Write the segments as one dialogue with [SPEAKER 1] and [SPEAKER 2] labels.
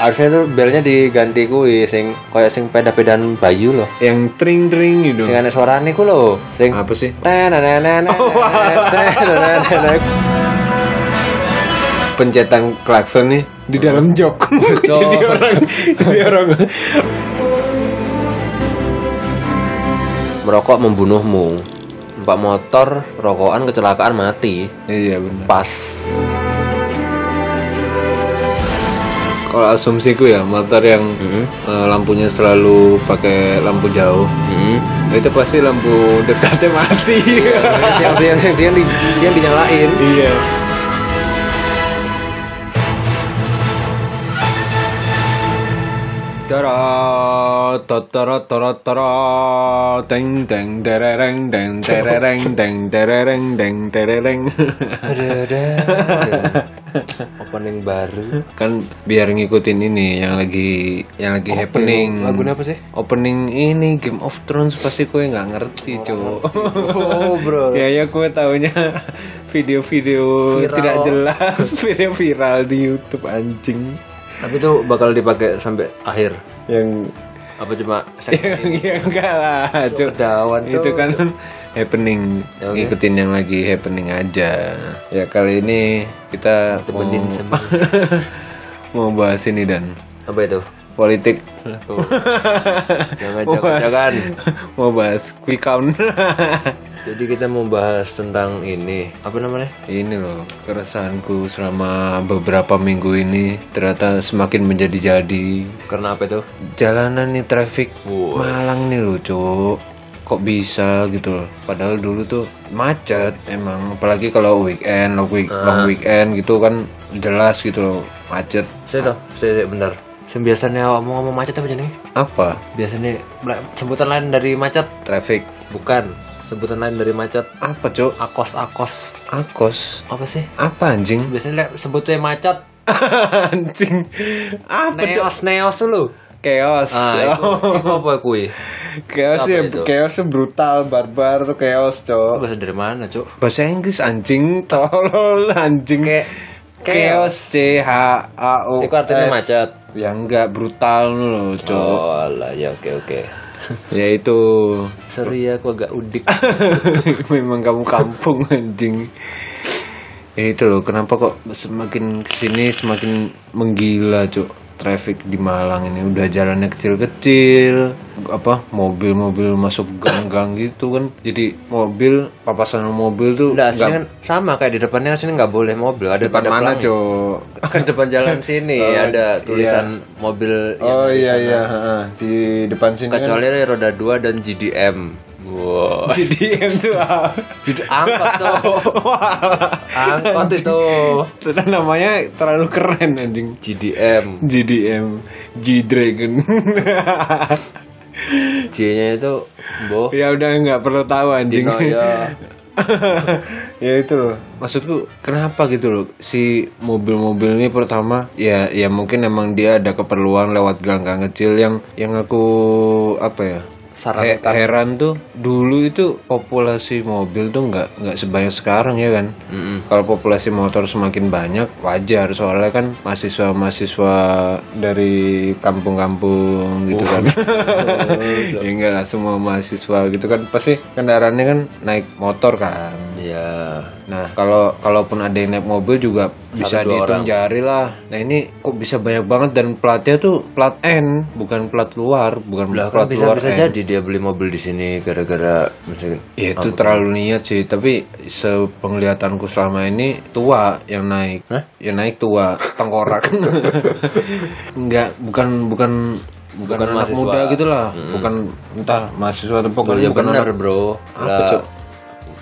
[SPEAKER 1] harusnya tuh belnya diganti kuwi sing kayak sing peda-pedan bayu loh.
[SPEAKER 2] Yang tring tring gitu.
[SPEAKER 1] Sing ana suarane ku lho, sing
[SPEAKER 2] Apa sih? Oh,
[SPEAKER 1] Nah, nah, nah, nah, nah, nah, nah, nah, nah.
[SPEAKER 2] Pencetan klakson nih di dalam jok. jadi orang jadi orang.
[SPEAKER 1] Merokok membunuhmu. Empat motor, rokokan kecelakaan mati.
[SPEAKER 2] Iya benar.
[SPEAKER 1] Pas.
[SPEAKER 2] Kalau asumsiku ya motor yang eh, lampunya selalu pakai lampu jauh.
[SPEAKER 1] Heeh.
[SPEAKER 2] Itu pasti lampu dekatnya mati.
[SPEAKER 1] Siang siang siang siang, di, siang dinyalain.
[SPEAKER 2] iya. Tara tara tara tara teng teng derereng deng derereng deng derereng deng derereng
[SPEAKER 1] Opening baru.
[SPEAKER 2] kan biar ngikutin ini yang lagi yang lagi happening
[SPEAKER 1] lagunya apa sih?
[SPEAKER 2] opening ini Game of Thrones pasti kue nggak ngerti cowok
[SPEAKER 1] Oh, bro.
[SPEAKER 2] ya ya kue taunya video-video
[SPEAKER 1] Viral.
[SPEAKER 2] tidak jelas video viral di YouTube anjing
[SPEAKER 1] Tapi tuh bakal dipakai sampai akhir.
[SPEAKER 2] yang
[SPEAKER 1] Apa cuma
[SPEAKER 2] yang
[SPEAKER 1] Iya.
[SPEAKER 2] yang enggak lah cowok
[SPEAKER 1] dawan
[SPEAKER 2] itu kan happening
[SPEAKER 1] Ya,
[SPEAKER 2] ngikutin yang lagi happening aja ya kali ini kita
[SPEAKER 1] Temenin
[SPEAKER 2] mau mau bahas ini dan
[SPEAKER 1] apa itu?
[SPEAKER 2] politik
[SPEAKER 1] Oh. jangan jangan jangan.
[SPEAKER 2] mau bahas quick count
[SPEAKER 1] Jadi kita mau bahas tentang ini apa namanya?
[SPEAKER 2] ini loh keresahanku selama beberapa minggu ini ternyata semakin menjadi-jadi
[SPEAKER 1] Karena apa itu?
[SPEAKER 2] jalanan nih traffic Malang nih loh cowok kok bisa gitu loh padahal dulu tuh macet emang apalagi kalau weekend long, week,
[SPEAKER 1] Ah.
[SPEAKER 2] long weekend gitu kan jelas gitu loh macet
[SPEAKER 1] Saya tuh, saya saya- bentar. Saya biasanya awak mau ngomong macet apa jadi?
[SPEAKER 2] apa
[SPEAKER 1] Biasanya bla- sebutan lain dari macet
[SPEAKER 2] traffic
[SPEAKER 1] bukan sebutan lain dari macet
[SPEAKER 2] apa cowok
[SPEAKER 1] akos akos
[SPEAKER 2] akos
[SPEAKER 1] apa sih?
[SPEAKER 2] apa anjing
[SPEAKER 1] Biasanya le- sebutnya macet
[SPEAKER 2] anjing apa cok
[SPEAKER 1] neos neos lu.
[SPEAKER 2] chaos
[SPEAKER 1] Nah, Ah, itu, itu apa kui?
[SPEAKER 2] chaos ya chaos brutal barbar tuh chaos cok
[SPEAKER 1] Bahasa dari mana, Cuk?
[SPEAKER 2] bahasa Inggris anjing tolol anjing
[SPEAKER 1] Kayak
[SPEAKER 2] chaos c h a o
[SPEAKER 1] itu artinya
[SPEAKER 2] S.
[SPEAKER 1] macet.
[SPEAKER 2] ya enggak brutal loh cok
[SPEAKER 1] Oh, lah ya oke oke.
[SPEAKER 2] ya itu
[SPEAKER 1] Sorry ya, aku agak udik.
[SPEAKER 2] memang kamu kampung anjing ya itu loh kenapa kok semakin kesini semakin menggila cok traffic di Malang ini udah jalannya kecil-kecil apa mobil-mobil masuk gang-gang gitu kan jadi mobil papasan mobil tuh
[SPEAKER 1] Enggak, sini kan sama kayak di depannya sini nggak boleh mobil. Ada
[SPEAKER 2] depan
[SPEAKER 1] tanda pelang.
[SPEAKER 2] mana cok
[SPEAKER 1] Ke depan jalan sini ada tulisan mobil yang
[SPEAKER 2] oh iya iya ha, di depan sini kan
[SPEAKER 1] kecuali roda 2 dan GDM. Wow.
[SPEAKER 2] jadi ah. itu apa?
[SPEAKER 1] Jadi angkot tuh. angkot itu
[SPEAKER 2] Ternyata namanya terlalu keren anjing.
[SPEAKER 1] GDM.
[SPEAKER 2] GDM G Dragon.
[SPEAKER 1] J-nya itu boh.
[SPEAKER 2] ya udah nggak perlu tahu anjing.
[SPEAKER 1] Dino ya.
[SPEAKER 2] ya itu loh. Maksudku kenapa gitu loh si mobil-mobil ini pertama ya ya mungkin emang dia ada keperluan lewat gang-gang kecil yang yang aku apa ya
[SPEAKER 1] Saran
[SPEAKER 2] He- heran tuh dulu itu populasi mobil tuh nggak nggak sebanyak sekarang ya kan kalau populasi motor semakin banyak wajar soalnya kan mahasiswa mahasiswa dari kampung-kampung gitu kan ya enggak lah semua mahasiswa gitu kan pasti kendaraannya kan naik motor kan
[SPEAKER 1] ya.
[SPEAKER 2] Nah, kalau kalaupun ada yang naik mobil juga bisa dihitung jari lah. Nah, ini kok bisa banyak banget dan platnya tuh plat N, bukan plat luar, bukan
[SPEAKER 1] Lah kan
[SPEAKER 2] plat
[SPEAKER 1] bisa
[SPEAKER 2] luar.
[SPEAKER 1] bisa jadi dia beli mobil di sini gara-gara mungkin
[SPEAKER 2] Ya, itu terlalu niat sih, tapi sepenglihatanku selama ini tua yang naik. Yang naik tua, tengkorak. Enggak, bukan bukan bukan, anak muda gitu lah. Bukan entah mahasiswa atau
[SPEAKER 1] Ya
[SPEAKER 2] pokoknya bukan
[SPEAKER 1] benar
[SPEAKER 2] anak.
[SPEAKER 1] bro.
[SPEAKER 2] Apa,
[SPEAKER 1] Lah,
[SPEAKER 2] Cuk?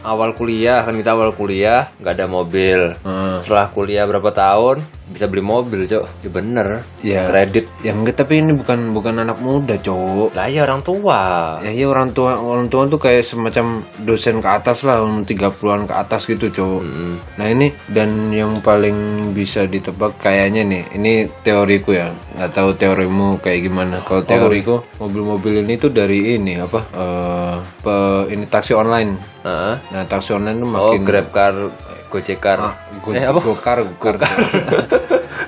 [SPEAKER 1] awal kuliah kan kita awal kuliah nggak ada mobil. Setelah kuliah berapa tahun bisa beli mobil cok. Ya bener.
[SPEAKER 2] Ya.
[SPEAKER 1] Kredit.
[SPEAKER 2] Ya enggak, tapi ini bukan bukan anak muda, Cok.
[SPEAKER 1] Lah ya orang tua.
[SPEAKER 2] Ya iya orang tua orang tua tuh kayak semacam dosen ke atas lah umur 30-an ke atas gitu cowok. Nah ini dan yang paling bisa ditebak kayaknya nih ini teoriku ya nggak tahu teorimu kayak gimana. Kalau teoriku mobil-mobil ini tuh dari ini apa eh, pe- ini taksi online.
[SPEAKER 1] Heeh.
[SPEAKER 2] Nah taksi online tuh
[SPEAKER 1] Oh
[SPEAKER 2] makin
[SPEAKER 1] Ah, grab car, gojek car.
[SPEAKER 2] go- gokar gokar.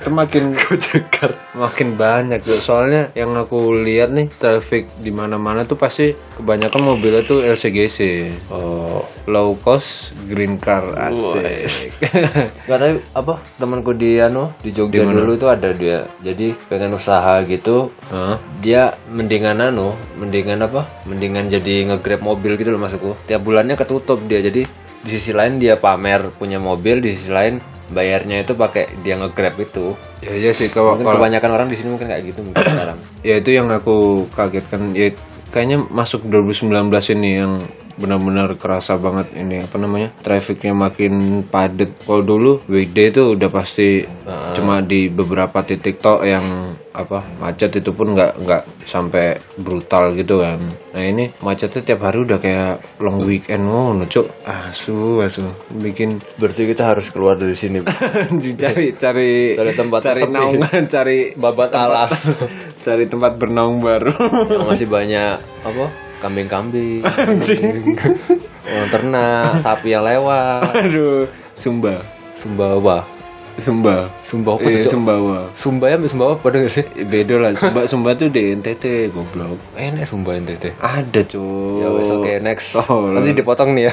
[SPEAKER 2] itu makin
[SPEAKER 1] Gojekar.
[SPEAKER 2] makin banyak ya soalnya yang aku lihat nih traffic di mana-mana tuh pasti kebanyakan mobilnya tuh LCGC
[SPEAKER 1] Oh.
[SPEAKER 2] low cost green car asik
[SPEAKER 1] Gak tahu apa temanku di anu di Jogja dulu itu ada dia. Jadi pengen usaha gitu.
[SPEAKER 2] Hah?
[SPEAKER 1] Dia mendingan anu, mendingan apa? Mendingan jadi nge-grab mobil gitu loh maksudku. Tiap bulannya ketutup dia. Jadi di sisi lain dia pamer punya mobil, di sisi lain bayarnya itu pakai dia nge-grab itu.
[SPEAKER 2] ya iya sih kalau
[SPEAKER 1] Mungkin kebanyakan orang di sini mungkin kayak gitu mungkin sekarang.
[SPEAKER 2] ya itu yang aku kagetkan ya kayaknya masuk 2019 ini yang benar-benar kerasa banget ini apa namanya trafficnya makin padat kalau dulu weekday itu udah pasti cuma di beberapa titik tok yang apa macet itu pun nggak nggak sampai brutal gitu kan nah ini macetnya tiap hari udah kayak long weekend ngono cuk asu asu bikin
[SPEAKER 1] Berarti kita harus keluar dari sini.
[SPEAKER 2] cari cari
[SPEAKER 1] Cari tempat
[SPEAKER 2] cari
[SPEAKER 1] sepi.
[SPEAKER 2] naungan cari
[SPEAKER 1] Babat alas.
[SPEAKER 2] cari tempat bernaung baru
[SPEAKER 1] Yang masih banyak apa? Kambing-kambing. Orang ternak, sapi yang lewat.
[SPEAKER 2] Aduh, Sumba.
[SPEAKER 1] Sumbawa. Iya,
[SPEAKER 2] Sumba.
[SPEAKER 1] Sumbawa apa
[SPEAKER 2] Eh,
[SPEAKER 1] tuh? Cok?
[SPEAKER 2] Sumbawa.
[SPEAKER 1] Sumba ya ambil Sumbawa pada gak sih?
[SPEAKER 2] Eh, Beda lah, Sumba Sumba tuh di NTT goblok.
[SPEAKER 1] Enak Sumba NTT.
[SPEAKER 2] Ada, cuy.
[SPEAKER 1] Ya wes oke next.
[SPEAKER 2] Oh,
[SPEAKER 1] Nanti dipotong nih ya.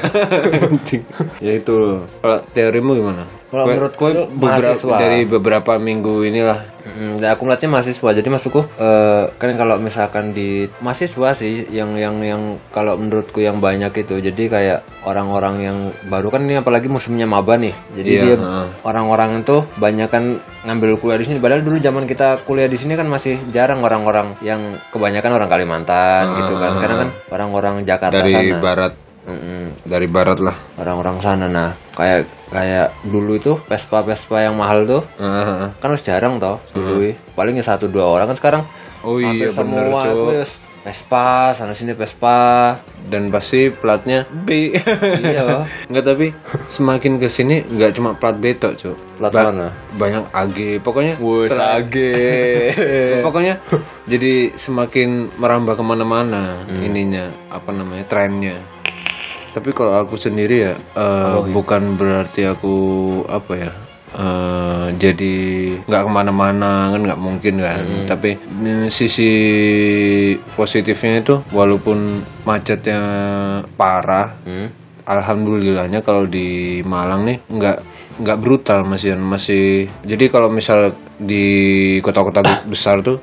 [SPEAKER 2] Anjing. ya itu loh. Kalau teorimu gimana?
[SPEAKER 1] Kalau
[SPEAKER 2] Gue-
[SPEAKER 1] menurutku
[SPEAKER 2] gue
[SPEAKER 1] itu
[SPEAKER 2] beberapa
[SPEAKER 1] mahasiswa.
[SPEAKER 2] dari beberapa minggu inilah.
[SPEAKER 1] Hmm, nah, aku ngeliatnya mahasiswa jadi maksudku eh, kan kalau misalkan di mahasiswa sih yang yang yang kalau menurutku yang banyak itu jadi kayak orang-orang yang baru kan ini apalagi musimnya maba nih jadi
[SPEAKER 2] Iya,
[SPEAKER 1] dia
[SPEAKER 2] heeh.
[SPEAKER 1] orang-orang itu banyak kan ngambil kuliah di sini padahal dulu zaman kita kuliah di sini kan masih jarang orang-orang yang kebanyakan orang Kalimantan gitu kan karena kan orang-orang Jakarta
[SPEAKER 2] Dari
[SPEAKER 1] sana
[SPEAKER 2] barat,
[SPEAKER 1] Mm-mm
[SPEAKER 2] dari barat lah.
[SPEAKER 1] orang-orang sana nah kayak kayak dulu itu Vespa Vespa yang mahal tuh
[SPEAKER 2] Ah,
[SPEAKER 1] kan harus jarang toh dulu ya. paling ya satu dua orang kan sekarang
[SPEAKER 2] Oh Hmm.
[SPEAKER 1] hampir
[SPEAKER 2] iya, bener,
[SPEAKER 1] semua
[SPEAKER 2] Cok.
[SPEAKER 1] itu ya Vespa sana sini Vespa
[SPEAKER 2] Dan pasti platnya B.
[SPEAKER 1] iya
[SPEAKER 2] Enggak tapi semakin kesini nggak cuma plat B tok, cuy.
[SPEAKER 1] plat mana
[SPEAKER 2] banyak AG pokoknya serang- pokoknya jadi semakin merambah kemana-mana ininya apa namanya trennya tapi kalau aku sendiri ya eh, bukan berarti aku apa ya eh, jadi nggak kemana-mana kan nggak mungkin kan tapi mm, sisi positifnya itu walaupun macetnya parah
[SPEAKER 1] Hmm?
[SPEAKER 2] Alhamdulillahnya kalau di Malang nih nggak nggak brutal masih masih jadi kalau misal di kota-kota besar tuh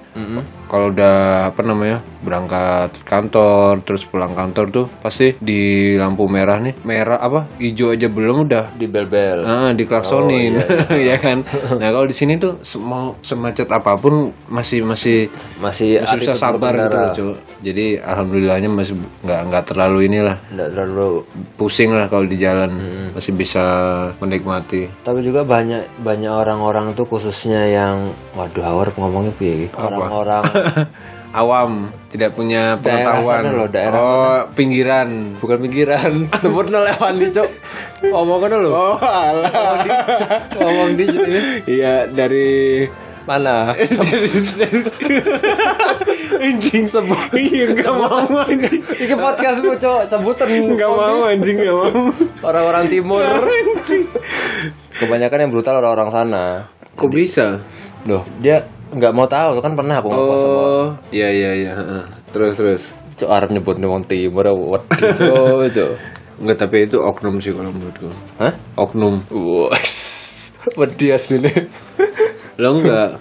[SPEAKER 2] kalau udah apa namanya berangkat kantor terus pulang kantor tuh pasti di lampu merah nih merah apa hijau aja belum udah
[SPEAKER 1] di bel bel
[SPEAKER 2] Ah, diklaksonin ya kan nah kalau di sini tuh se- mau semacet apapun masih masih
[SPEAKER 1] masih
[SPEAKER 2] masih bisa
[SPEAKER 1] attitude
[SPEAKER 2] sabar gitu loh, Cuk. Jadi alhamdulillahnya masih nggak nggak terlalu inilah
[SPEAKER 1] nggak terlalu
[SPEAKER 2] pusing lah kalau di jalan masih bisa menikmati
[SPEAKER 1] tapi juga banyak banyak orang-orang tuh khususnya yang waduh awar ngomongnya piye orang-orang
[SPEAKER 2] awam tidak punya
[SPEAKER 1] Daerah
[SPEAKER 2] pengetahuan
[SPEAKER 1] sana loh, daerah
[SPEAKER 2] oh pinggiran
[SPEAKER 1] bukan pinggiran sebut lewat di cok ngomongnya lo
[SPEAKER 2] oh alah
[SPEAKER 1] ngomong di
[SPEAKER 2] iya dari
[SPEAKER 1] mana
[SPEAKER 2] anjing sebut iya nggak mau anjing
[SPEAKER 1] Ini podcast lu, Cok. Sebutan.
[SPEAKER 2] nggak mau anjing nggak mau
[SPEAKER 1] Orang-orang timur. Kebanyakan yang brutal orang-orang sana.
[SPEAKER 2] kok bisa
[SPEAKER 1] Loh, dia nggak mau tahu. Kan pernah aku ngomong sama
[SPEAKER 2] oh iya iya iya heeh. terus terus
[SPEAKER 1] Cok Arab nyebut nih orang timur. Waduh, Cok, Cok.
[SPEAKER 2] Enggak, tapi itu oknum sih kalau menurutku.
[SPEAKER 1] Hah?
[SPEAKER 2] Oknum.
[SPEAKER 1] Wes. Wedi asline.
[SPEAKER 2] Lo enggak.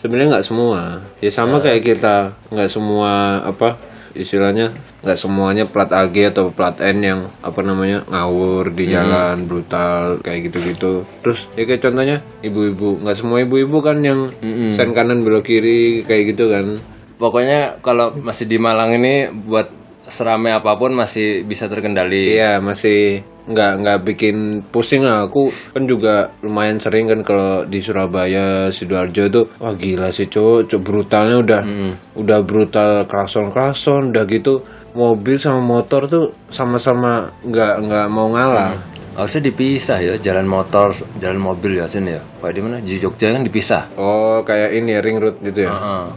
[SPEAKER 2] Sebenarnya enggak semua. Ya sama kayak kita, enggak semua apa istilahnya enggak semuanya plat AG atau plat N yang apa namanya ngawur di jalan brutal kayak gitu-gitu. Terus ya kayak contohnya ibu-ibu, enggak semua ibu-ibu kan yang sen kanan belok kiri kayak gitu kan.
[SPEAKER 1] Pokoknya kalau masih di Malang ini buat serame apapun masih bisa terkendali.
[SPEAKER 2] Iya masih nggak nggak bikin pusing lah aku kan juga lumayan sering kan kalau di Surabaya sidoarjo tuh wah gila sih cowok cowok brutalnya udah udah brutal klakson klakson udah gitu mobil sama motor tuh sama-sama nggak nggak mau ngalah
[SPEAKER 1] Hmm. Harusnya dipisah ya, jalan motor, jalan mobil ya, sini ya. Kayak di mana? Di Jogja kan dipisah.
[SPEAKER 2] oh kayak ini ya, ring road gitu ya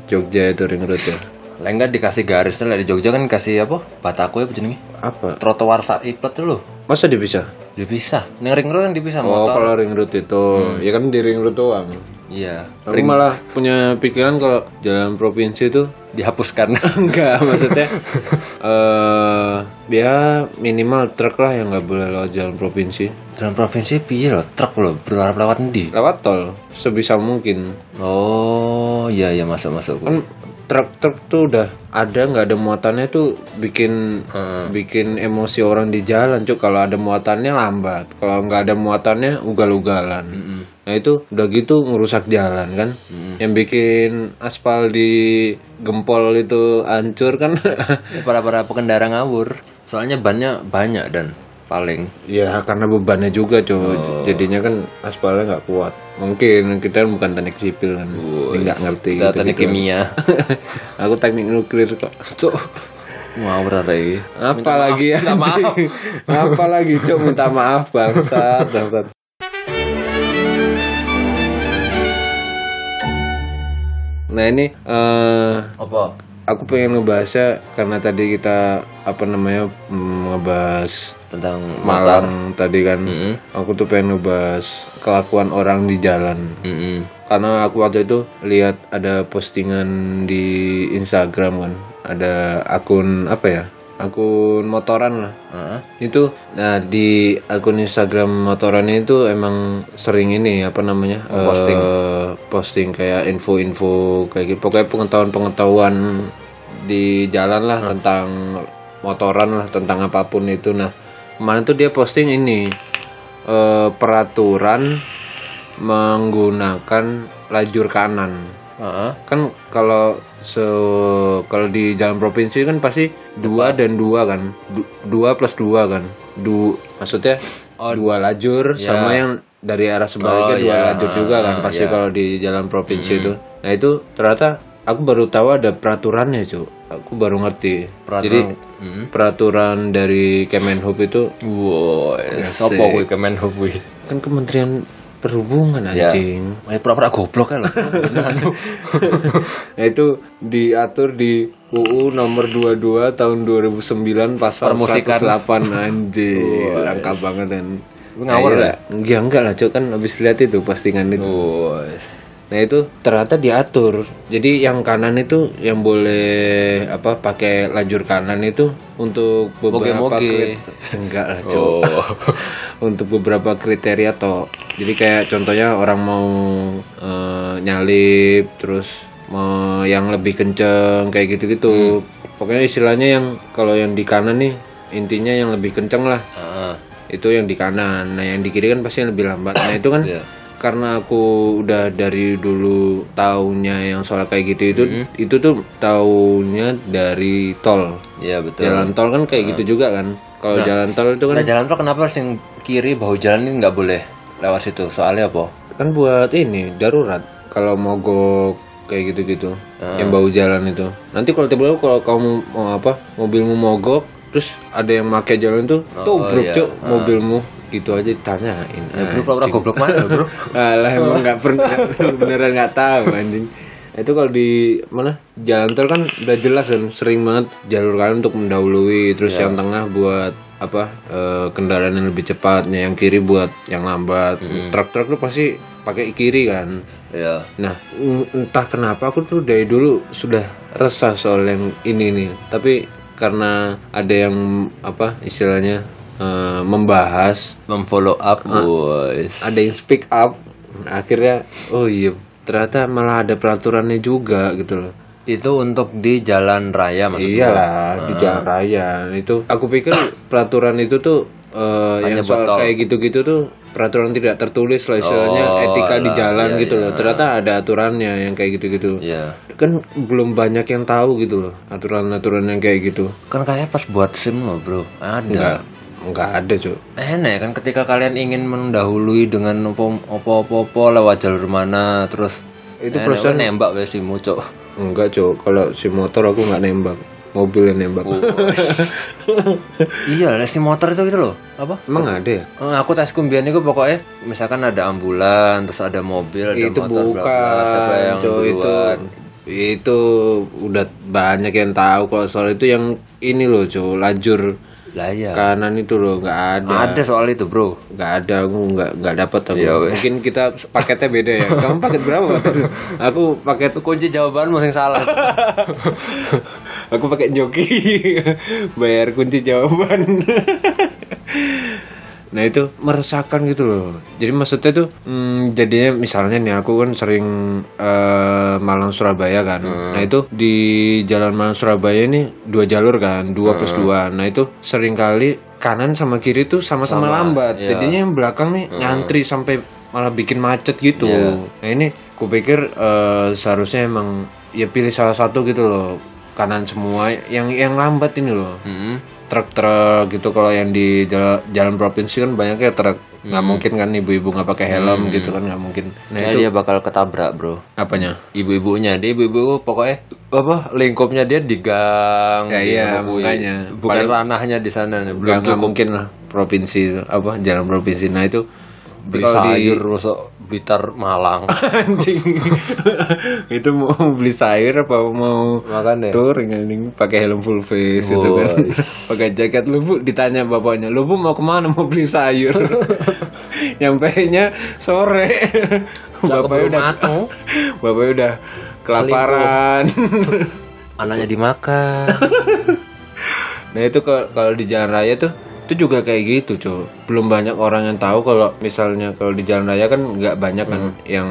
[SPEAKER 2] Jogja itu ring road ya
[SPEAKER 1] Lah enggak dikasih garis lah di Jogja kan kasih apa? Batako ya jenenge?
[SPEAKER 2] apa
[SPEAKER 1] Trotoar sak iplet tuh lho.
[SPEAKER 2] masa dipisah
[SPEAKER 1] Dipisah. Ning ring road kan dipisah
[SPEAKER 2] oh
[SPEAKER 1] motor.
[SPEAKER 2] kalau ring road itu ya kan di ring road doang
[SPEAKER 1] Iya.
[SPEAKER 2] Aku malah punya pikiran kalau jalan provinsi itu
[SPEAKER 1] Dihapuskan.
[SPEAKER 2] enggak maksudnya eh ya minimal truk lah yang nggak boleh lewat jalan provinsi.
[SPEAKER 1] Dalam provinsi piye loh, truk loh, berharap lewat di.
[SPEAKER 2] Lewat tol sebisa mungkin.
[SPEAKER 1] Oh, iya iya masuk masuk.
[SPEAKER 2] Kan truk-truk tuh udah ada nggak ada muatannya tuh bikin bikin emosi orang di jalan cuk kalau ada muatannya lambat kalau nggak ada muatannya ugal-ugalan nah itu udah gitu ngerusak jalan kan yang bikin aspal di gempol itu hancur kan
[SPEAKER 1] Para para pengendara ngawur. Soalnya bannya banyak dan paling
[SPEAKER 2] ya karena bebannya juga cuk jadinya kan aspalnya nggak kuat mungkin kita bukan teknik sipil kan nggak ngerti
[SPEAKER 1] kita teknik kimia.
[SPEAKER 2] aku teknik nuklir kok
[SPEAKER 1] gitu. Cuk. Ngawur lagi.
[SPEAKER 2] apa lagi ya maaf apa lagi cok minta maaf bangsat bangsat nah ini eh
[SPEAKER 1] Apa?
[SPEAKER 2] aku pengen ngebahasnya karena tadi kita apa namanya mm, ngebahas
[SPEAKER 1] Tentang
[SPEAKER 2] Malang tadi kan
[SPEAKER 1] Hmm.
[SPEAKER 2] aku tuh pengen ngebahas kelakuan orang di jalan
[SPEAKER 1] Mm-mm.
[SPEAKER 2] karena aku waktu itu lihat ada postingan di Instagram kan ada akun apa ya akun motoran lah
[SPEAKER 1] Heeh.
[SPEAKER 2] itu nah di akun Instagram motoran itu emang sering ini apa namanya posting posting kayak info-info kayak gitu pokoknya pengetahuan-pengetahuan di jalan lah tentang motoran lah tentang apapun itu nah kemarin tuh dia posting ini eh, peraturan menggunakan lajur kanan
[SPEAKER 1] Heeh.
[SPEAKER 2] kan kalau se kalau di jalan provinsi kan pasti dua dan dua kan Du- dua plus dua kan du maksudnya dua lajur sama yang dari arah sebaliknya dua lajur juga kan pasti kalau di jalan provinsi itu nah itu ternyata aku baru tahu ada peraturannya cu aku baru ngerti jadi peraturan dari Kemenhub itu
[SPEAKER 1] Woi, sopo kuwi Kemenhub kuwi?
[SPEAKER 2] kan Kementerian Perhubungan anjing
[SPEAKER 1] Eh, pura-pura goblok ya lo.
[SPEAKER 2] Nah, itu diatur di UU nomor 22 tahun 2009 pasal 108 anjir. Langka banget dan
[SPEAKER 1] Lu ngawur
[SPEAKER 2] ya? Enggak, enggak lah, Cuk. Kan habis lihat itu postingan itu.
[SPEAKER 1] Woi.
[SPEAKER 2] Nah, itu ternyata diatur. Jadi yang kanan itu yang boleh apa pakai lajur kanan itu untuk beberapa
[SPEAKER 1] Moge-moge.
[SPEAKER 2] krit- enggak lah, Cuk. untuk beberapa kriteria toh jadi kayak contohnya orang mau eh, nyalip terus mau yang lebih kenceng kayak gitu gitu pokoknya istilahnya yang kalau yang di kanan nih intinya yang lebih kenceng lah
[SPEAKER 1] Heeh.
[SPEAKER 2] itu yang di kanan nah yang di kiri kan pasti yang lebih lambat nah itu kan
[SPEAKER 1] Iya.
[SPEAKER 2] karena aku udah dari dulu taunya yang soal kayak gitu itu itu tuh taunya dari tol
[SPEAKER 1] Iya, betul. Ah.
[SPEAKER 2] jalan tol kan kayak gitu juga kan kalau jalan tol itu kan
[SPEAKER 1] Nah, jalan tol kenapa harus yang kiri bahu jalan ini nggak boleh lewat situ? Soalnya apa?
[SPEAKER 2] kan buat ini darurat kalau mogok kayak gitu-gitu yang
[SPEAKER 1] Ah.
[SPEAKER 2] bau jalan itu nanti kalau tiba-tiba kalau kamu mau apa mobilmu mogok terus ada yang pakai jalan tuh
[SPEAKER 1] Oh,
[SPEAKER 2] tubruk
[SPEAKER 1] iya.
[SPEAKER 2] cuk
[SPEAKER 1] Ah.
[SPEAKER 2] mobilmu gitu aja tanyain
[SPEAKER 1] Ya, Bro, pura-pura goblok mana, Bro?
[SPEAKER 2] Alah emang nggak pernah beneran nggak tahu anjing. Itu kalau di mana jalan tol kan udah jelas dan sering banget jalur kanan untuk mendahului terus yang tengah buat apa eh, kendaraan yang lebih cepatnya yang kiri buat yang lambat truk-truk tuh pasti pakai kiri kan
[SPEAKER 1] Iya.
[SPEAKER 2] nah en- entah kenapa aku tuh dari dulu sudah resah soal yang ini nih tapi karena ada yang apa istilahnya eh, membahas
[SPEAKER 1] Memfollow up, boys.
[SPEAKER 2] ada yang speak up akhirnya oh iya ternyata malah ada peraturannya juga gitu loh
[SPEAKER 1] Itu untuk di jalan raya maksudnya.
[SPEAKER 2] iyalah di jalan raya itu aku pikir peraturan itu tuh eh, yang soal kayak gitu-gitu tuh peraturan tidak tertulis lah istilahnya etika di jalan gitu loh ternyata ada aturannya yang kayak gitu-gitu
[SPEAKER 1] Iya.
[SPEAKER 2] kan belum banyak yang tahu gitu loh aturan-aturan yang kayak gitu
[SPEAKER 1] Kan kayak pas buat SIM loh, Bro. Ada.
[SPEAKER 2] nggak ada cuy
[SPEAKER 1] Enak kan ketika kalian ingin mendahului dengan opo- opo-opo lewat jalur mana, terus itu proses nembak wes SIMmu, Cok.
[SPEAKER 2] enggak cuy kalau si motor aku nggak nembak mobil yang nembak
[SPEAKER 1] iya, lah, si motor itu gitu loh. Apa?
[SPEAKER 2] emang ada ya
[SPEAKER 1] Eh, aku tes kumbian itu pokoknya misalkan ada ambulan terus ada mobil ada
[SPEAKER 2] itu
[SPEAKER 1] motor bla bla, siapa
[SPEAKER 2] bukan
[SPEAKER 1] yang
[SPEAKER 2] cuy Kan, itu
[SPEAKER 1] duluan.
[SPEAKER 2] itu udah banyak yang tahu kalau soal itu yang ini loh cuy lajur
[SPEAKER 1] Lah iya.
[SPEAKER 2] kanan itu loh nggak ada
[SPEAKER 1] Ada soal itu, Bro.
[SPEAKER 2] nggak ada aku nggak nggak dapat aku
[SPEAKER 1] Iya, weh.
[SPEAKER 2] mungkin kita paketnya beda ya kamu paket berapa waktu itu? aku paket
[SPEAKER 1] Itu kunci jawaban masing salah.
[SPEAKER 2] aku pakai joki bayar kunci jawaban nah itu meresahkan gitu loh jadi maksudnya tuh hmm, jadinya misalnya nih aku kan sering eh, Malang Surabaya kan nah itu di jalan Malang Surabaya ini dua jalur kan dua plus dua nah itu sering kali kanan sama kiri tuh sama-sama lambat jadinya yang belakang nih ngantri sampai malah bikin macet gitu nah ini kupikir eh, seharusnya emang ya pilih salah satu gitu loh kanan semua yang yang lambat ini loh
[SPEAKER 1] Mm-mm.
[SPEAKER 2] truk-truk gitu kalau yang di jala- jalan, provinsi kan banyaknya truk
[SPEAKER 1] Hmm.
[SPEAKER 2] nggak mungkin kan ibu-ibu nggak pakai helm gitu kan nggak mungkin nah
[SPEAKER 1] Nah, dia bakal ketabrak, Bro.
[SPEAKER 2] apanya
[SPEAKER 1] Ibu-ibunya, dia ibu-ibu pokoknya apa lingkupnya dia di gang.
[SPEAKER 2] Ya,
[SPEAKER 1] di
[SPEAKER 2] iya,
[SPEAKER 1] Mabui.
[SPEAKER 2] makanya.
[SPEAKER 1] Bukan ranahnya di sana nih,
[SPEAKER 2] nggak
[SPEAKER 1] belum
[SPEAKER 2] nggak mungkin lah provinsi apa jalan provinsi nah itu
[SPEAKER 1] beli
[SPEAKER 2] kalau di-
[SPEAKER 1] sayur rusuk Blitar Malang.
[SPEAKER 2] anjing itu mau beli sayur apa mau
[SPEAKER 1] Makanya.
[SPEAKER 2] touring anjing pakai helm full face gitu kan pakai jaket lu bu ditanya bapaknya lu bu mau kemana mau beli sayur nyampe nya sore bapaknya
[SPEAKER 1] belum
[SPEAKER 2] udah
[SPEAKER 1] mateng.
[SPEAKER 2] bapaknya udah kelaparan
[SPEAKER 1] Anaknya dimakan.
[SPEAKER 2] Nah itu ke- kalau di jalan raya tuh itu juga kayak gitu cuy belum banyak orang yang tahu kalau misalnya kalau di jalan raya kan nggak banyak kan
[SPEAKER 1] Hmm.
[SPEAKER 2] yang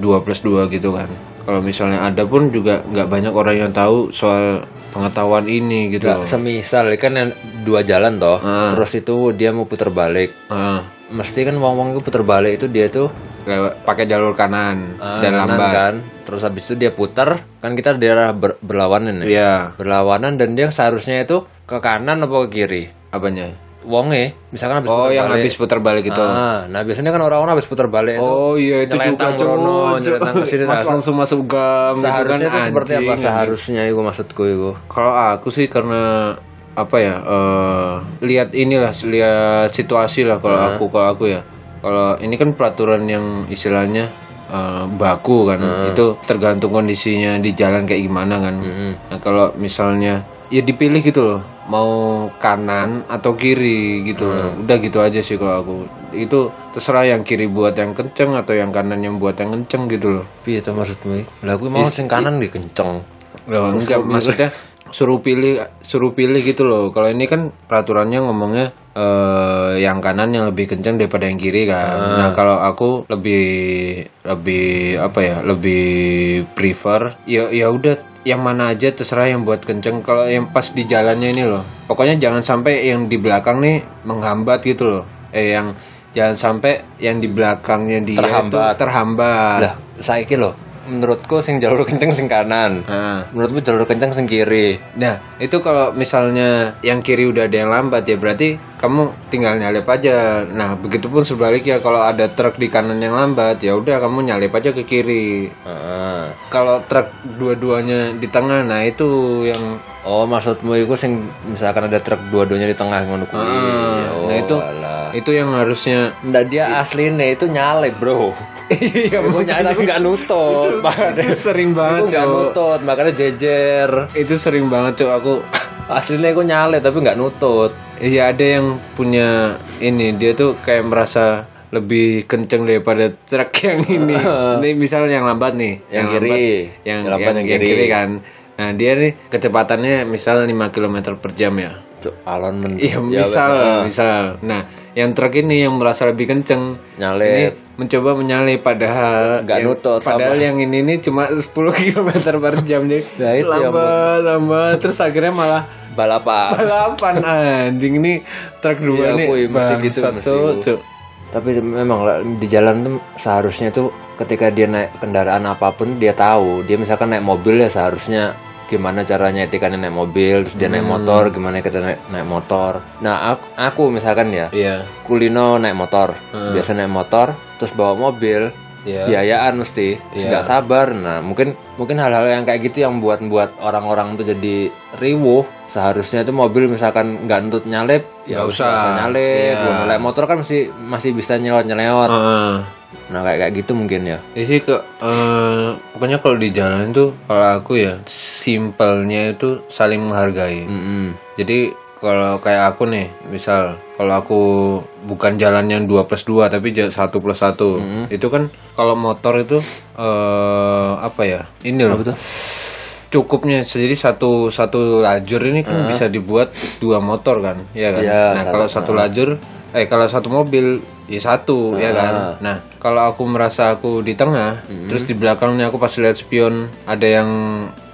[SPEAKER 2] 2 plus 2 gitu kan kalau misalnya ada pun juga nggak banyak orang yang tahu soal pengetahuan ini gitu
[SPEAKER 1] Nggak, semisal kan yang dua jalan toh. Terus itu dia mau putar balik.
[SPEAKER 2] Ah,
[SPEAKER 1] Mesti kan wong-wong itu putar balik itu dia tuh
[SPEAKER 2] lewat- pakai jalur kanan
[SPEAKER 1] ah,
[SPEAKER 2] dan
[SPEAKER 1] kanan
[SPEAKER 2] lambat
[SPEAKER 1] kan. Terus habis itu dia putar, kan kita daerah ber- berlawanan ya.
[SPEAKER 2] iya
[SPEAKER 1] Berlawanan dan dia seharusnya itu ke kanan apa ke kiri.
[SPEAKER 2] apanya
[SPEAKER 1] Wonge, misalkan habis
[SPEAKER 2] oh
[SPEAKER 1] putar
[SPEAKER 2] yang
[SPEAKER 1] balik.
[SPEAKER 2] habis putar balik itu
[SPEAKER 1] Ah, nah biasanya kan orang-orang habis putar balik itu
[SPEAKER 2] oh iya itu juga
[SPEAKER 1] nyelentang krono,
[SPEAKER 2] cuy
[SPEAKER 1] nyelentang ke sini. Nah,
[SPEAKER 2] langsung masuk gam gitu
[SPEAKER 1] seharusnya
[SPEAKER 2] kan,
[SPEAKER 1] itu seperti apa
[SPEAKER 2] anjing.
[SPEAKER 1] seharusnya itu maksudku itu.
[SPEAKER 2] Kalau aku sih karena apa ya eh, lihat inilah lihat situasi lah kalau aku kalau aku ya kalau ini kan peraturan yang istilahnya eh, baku kan itu tergantung kondisinya di jalan kayak gimana kan nah, kalau misalnya ya dipilih gitu loh mau kanan atau kiri gitu loh. udah gitu aja sih kalau aku itu terserah yang kiri buat yang kenceng atau yang kanan yang buat yang kenceng gitu loh
[SPEAKER 1] Piye itu maksudmu? Lah aku mau sing kanan di kenceng.
[SPEAKER 2] Loh, Ya, enggak, maksudnya suruh pilih suruh pilih gitu loh. Kalau ini kan peraturannya ngomongnya eh, yang kanan yang lebih kencang daripada yang kiri kan.
[SPEAKER 1] Ah.
[SPEAKER 2] Nah, kalau aku lebih lebih apa ya? Lebih prefer ya ya udah yang mana aja terserah yang buat kenceng kalau yang pas di jalannya ini loh. Pokoknya jangan sampai yang di belakang nih menghambat gitu loh. Eh yang jangan sampai yang di belakangnya dia itu
[SPEAKER 1] Terhambat.
[SPEAKER 2] terhambat.
[SPEAKER 1] Lah, saiki lho, menurutku sing jalur kenceng sing kanan.
[SPEAKER 2] Nah.
[SPEAKER 1] Menurutmu jalur kenceng sing kiri.
[SPEAKER 2] Nah, itu kalau misalnya yang kiri udah ada yang lambat ya berarti kamu tinggal nyalip aja. Nah, begitupun sebaliknya kalau ada truk di kanan yang lambat ya udah kamu nyalip aja ke kiri.
[SPEAKER 1] Heeh.
[SPEAKER 2] Kalau truk dua-duanya di tengah, nah itu yang
[SPEAKER 1] Oh, maksudmu itu sing misalkan ada truk dua-duanya di tengah ngono kuwi. Oh,
[SPEAKER 2] nah itu
[SPEAKER 1] alah.
[SPEAKER 2] itu yang harusnya
[SPEAKER 1] Nggak, dia aslinya itu nyalip, Bro. Iya, mau nyalip tapi nggak nutut. Makanya-
[SPEAKER 2] sering
[SPEAKER 1] Aku
[SPEAKER 2] banget
[SPEAKER 1] nggak
[SPEAKER 2] cowok.
[SPEAKER 1] nutut, makanya jejer.
[SPEAKER 2] Itu sering banget cowok aku
[SPEAKER 1] Aslinya aku nyalip tapi nggak nutut.
[SPEAKER 2] Iya ada yang punya ini dia tuh kayak merasa lebih kenceng daripada truk yang ini. Ini misalnya yang lambat nih,
[SPEAKER 1] Yang kiri. Ya.
[SPEAKER 2] lambat, yang,
[SPEAKER 1] Yang lambat
[SPEAKER 2] yang,
[SPEAKER 1] yang
[SPEAKER 2] yang
[SPEAKER 1] kiri.
[SPEAKER 2] kiri. kan. Nah dia nih kecepatannya misal 5 km per jam ya.
[SPEAKER 1] Cuk, alon men.
[SPEAKER 2] Iya
[SPEAKER 1] Ya,
[SPEAKER 2] misal, misal. Nah yang truk ini yang merasa lebih kenceng
[SPEAKER 1] Nyalip.
[SPEAKER 2] ini mencoba menyalip
[SPEAKER 1] Iya.
[SPEAKER 2] padahal
[SPEAKER 1] Nggak
[SPEAKER 2] yang-
[SPEAKER 1] nutut,
[SPEAKER 2] Padahal yang ini nih cuma 10 km per jam jadi
[SPEAKER 1] Nah, itu yang
[SPEAKER 2] lambat, lambat. Terus akhirnya malah
[SPEAKER 1] Balapan.
[SPEAKER 2] balapan anjing ini truk dua
[SPEAKER 1] Iya,
[SPEAKER 2] nih
[SPEAKER 1] kuy, mesti gitu,
[SPEAKER 2] bangsat
[SPEAKER 1] mesti
[SPEAKER 2] tuh,
[SPEAKER 1] gitu.
[SPEAKER 2] cuy.
[SPEAKER 1] Tapi memang lah, di jalan tuh seharusnya tuh ketika dia naik kendaraan apapun dia tahu. Dia misalkan naik mobil ya seharusnya gimana caranya etikannya naik mobil, terus dia naik motor gimana kita naik, naik motor. Nah, aku, aku misalkan ya,
[SPEAKER 2] iya
[SPEAKER 1] kulino naik motor, biasa naik motor, terus bawa mobil, Iya. biayaan mesti, terus nggak sabar. Nah, mungkin mungkin hal-hal yang kayak gitu yang buat buat orang-orang tuh jadi riuh. Seharusnya itu mobil misalkan nggak nuntut nyalip, ya nggak usah, nyalip. Belum naik motor kan masih masih bisa nyelot nyelot.
[SPEAKER 2] Heeh.
[SPEAKER 1] Nah, kayak kayak gitu mungkin ya.
[SPEAKER 2] Isi ke Iya eh, pokoknya kalau di jalan itu kalau aku ya simpelnya itu saling menghargai
[SPEAKER 1] Mm-mm.
[SPEAKER 2] jadi kalau kayak aku nih misal kalau aku bukan jalan yang 2 plus 2 tapi ja- 1 plus 1
[SPEAKER 1] Mm-hmm.
[SPEAKER 2] itu kan kalau motor itu eh apa ya ini loh
[SPEAKER 1] Apa tuh?
[SPEAKER 2] cukupnya jadi satu satu lajur ini kan bisa dibuat dua motor kan ya kan
[SPEAKER 1] Iya,
[SPEAKER 2] nah kalau satu lajur eh kalau satu mobil ya satu ya kan nah kalau aku merasa aku di tengah
[SPEAKER 1] Mm-hmm.
[SPEAKER 2] terus di belakangnya aku pasti lihat spion ada yang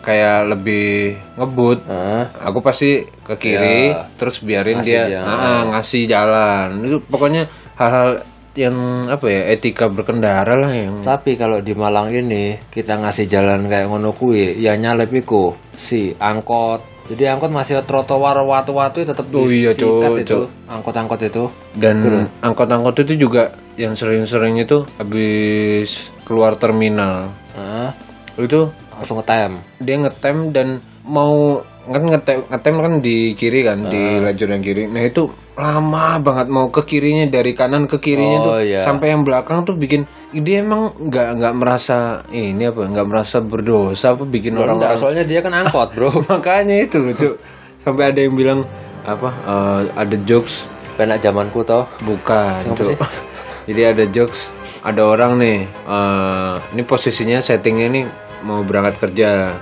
[SPEAKER 2] kayak lebih ngebut
[SPEAKER 1] Hah?
[SPEAKER 2] aku pasti ke kiri terus biarin dia ah, ngasih jalan itu pokoknya hal-hal yang apa ya etika berkendara lah yang
[SPEAKER 1] Tapi kalau di Malang ini kita ngasih jalan kayak ngono kuwi, ya nyalep iku si angkot. Jadi angkot masih trotoar watu-watu tetap
[SPEAKER 2] Oh iya, Cuk,
[SPEAKER 1] itu angkot-angkot itu.
[SPEAKER 2] dan angkot-angkot itu juga yang sering-sering itu habis keluar terminal
[SPEAKER 1] Hah?
[SPEAKER 2] itu
[SPEAKER 1] langsung ngetem.
[SPEAKER 2] dia ngetem dan mau kan ngetem, ngetem kan di kiri kan
[SPEAKER 1] Ah.
[SPEAKER 2] di lajur yang kiri nah itu lama banget mau ke kirinya dari kanan ke kirinya
[SPEAKER 1] Oh,
[SPEAKER 2] tuh
[SPEAKER 1] iya.
[SPEAKER 2] sampai yang belakang tuh bikin dia emang nggak nggak merasa ini apa nggak merasa berdosa apa bikin orang
[SPEAKER 1] Enggak, soalnya dia kan angkot, Bro.
[SPEAKER 2] makanya itu lucu sampai ada yang bilang apa eh, ada jokes
[SPEAKER 1] Penak zamanku toh.
[SPEAKER 2] Bukan,
[SPEAKER 1] Siapa
[SPEAKER 2] Cuk.
[SPEAKER 1] sih?
[SPEAKER 2] Jadi ada jokes, ada orang nih, eh, ini posisinya settingnya nih mau berangkat kerja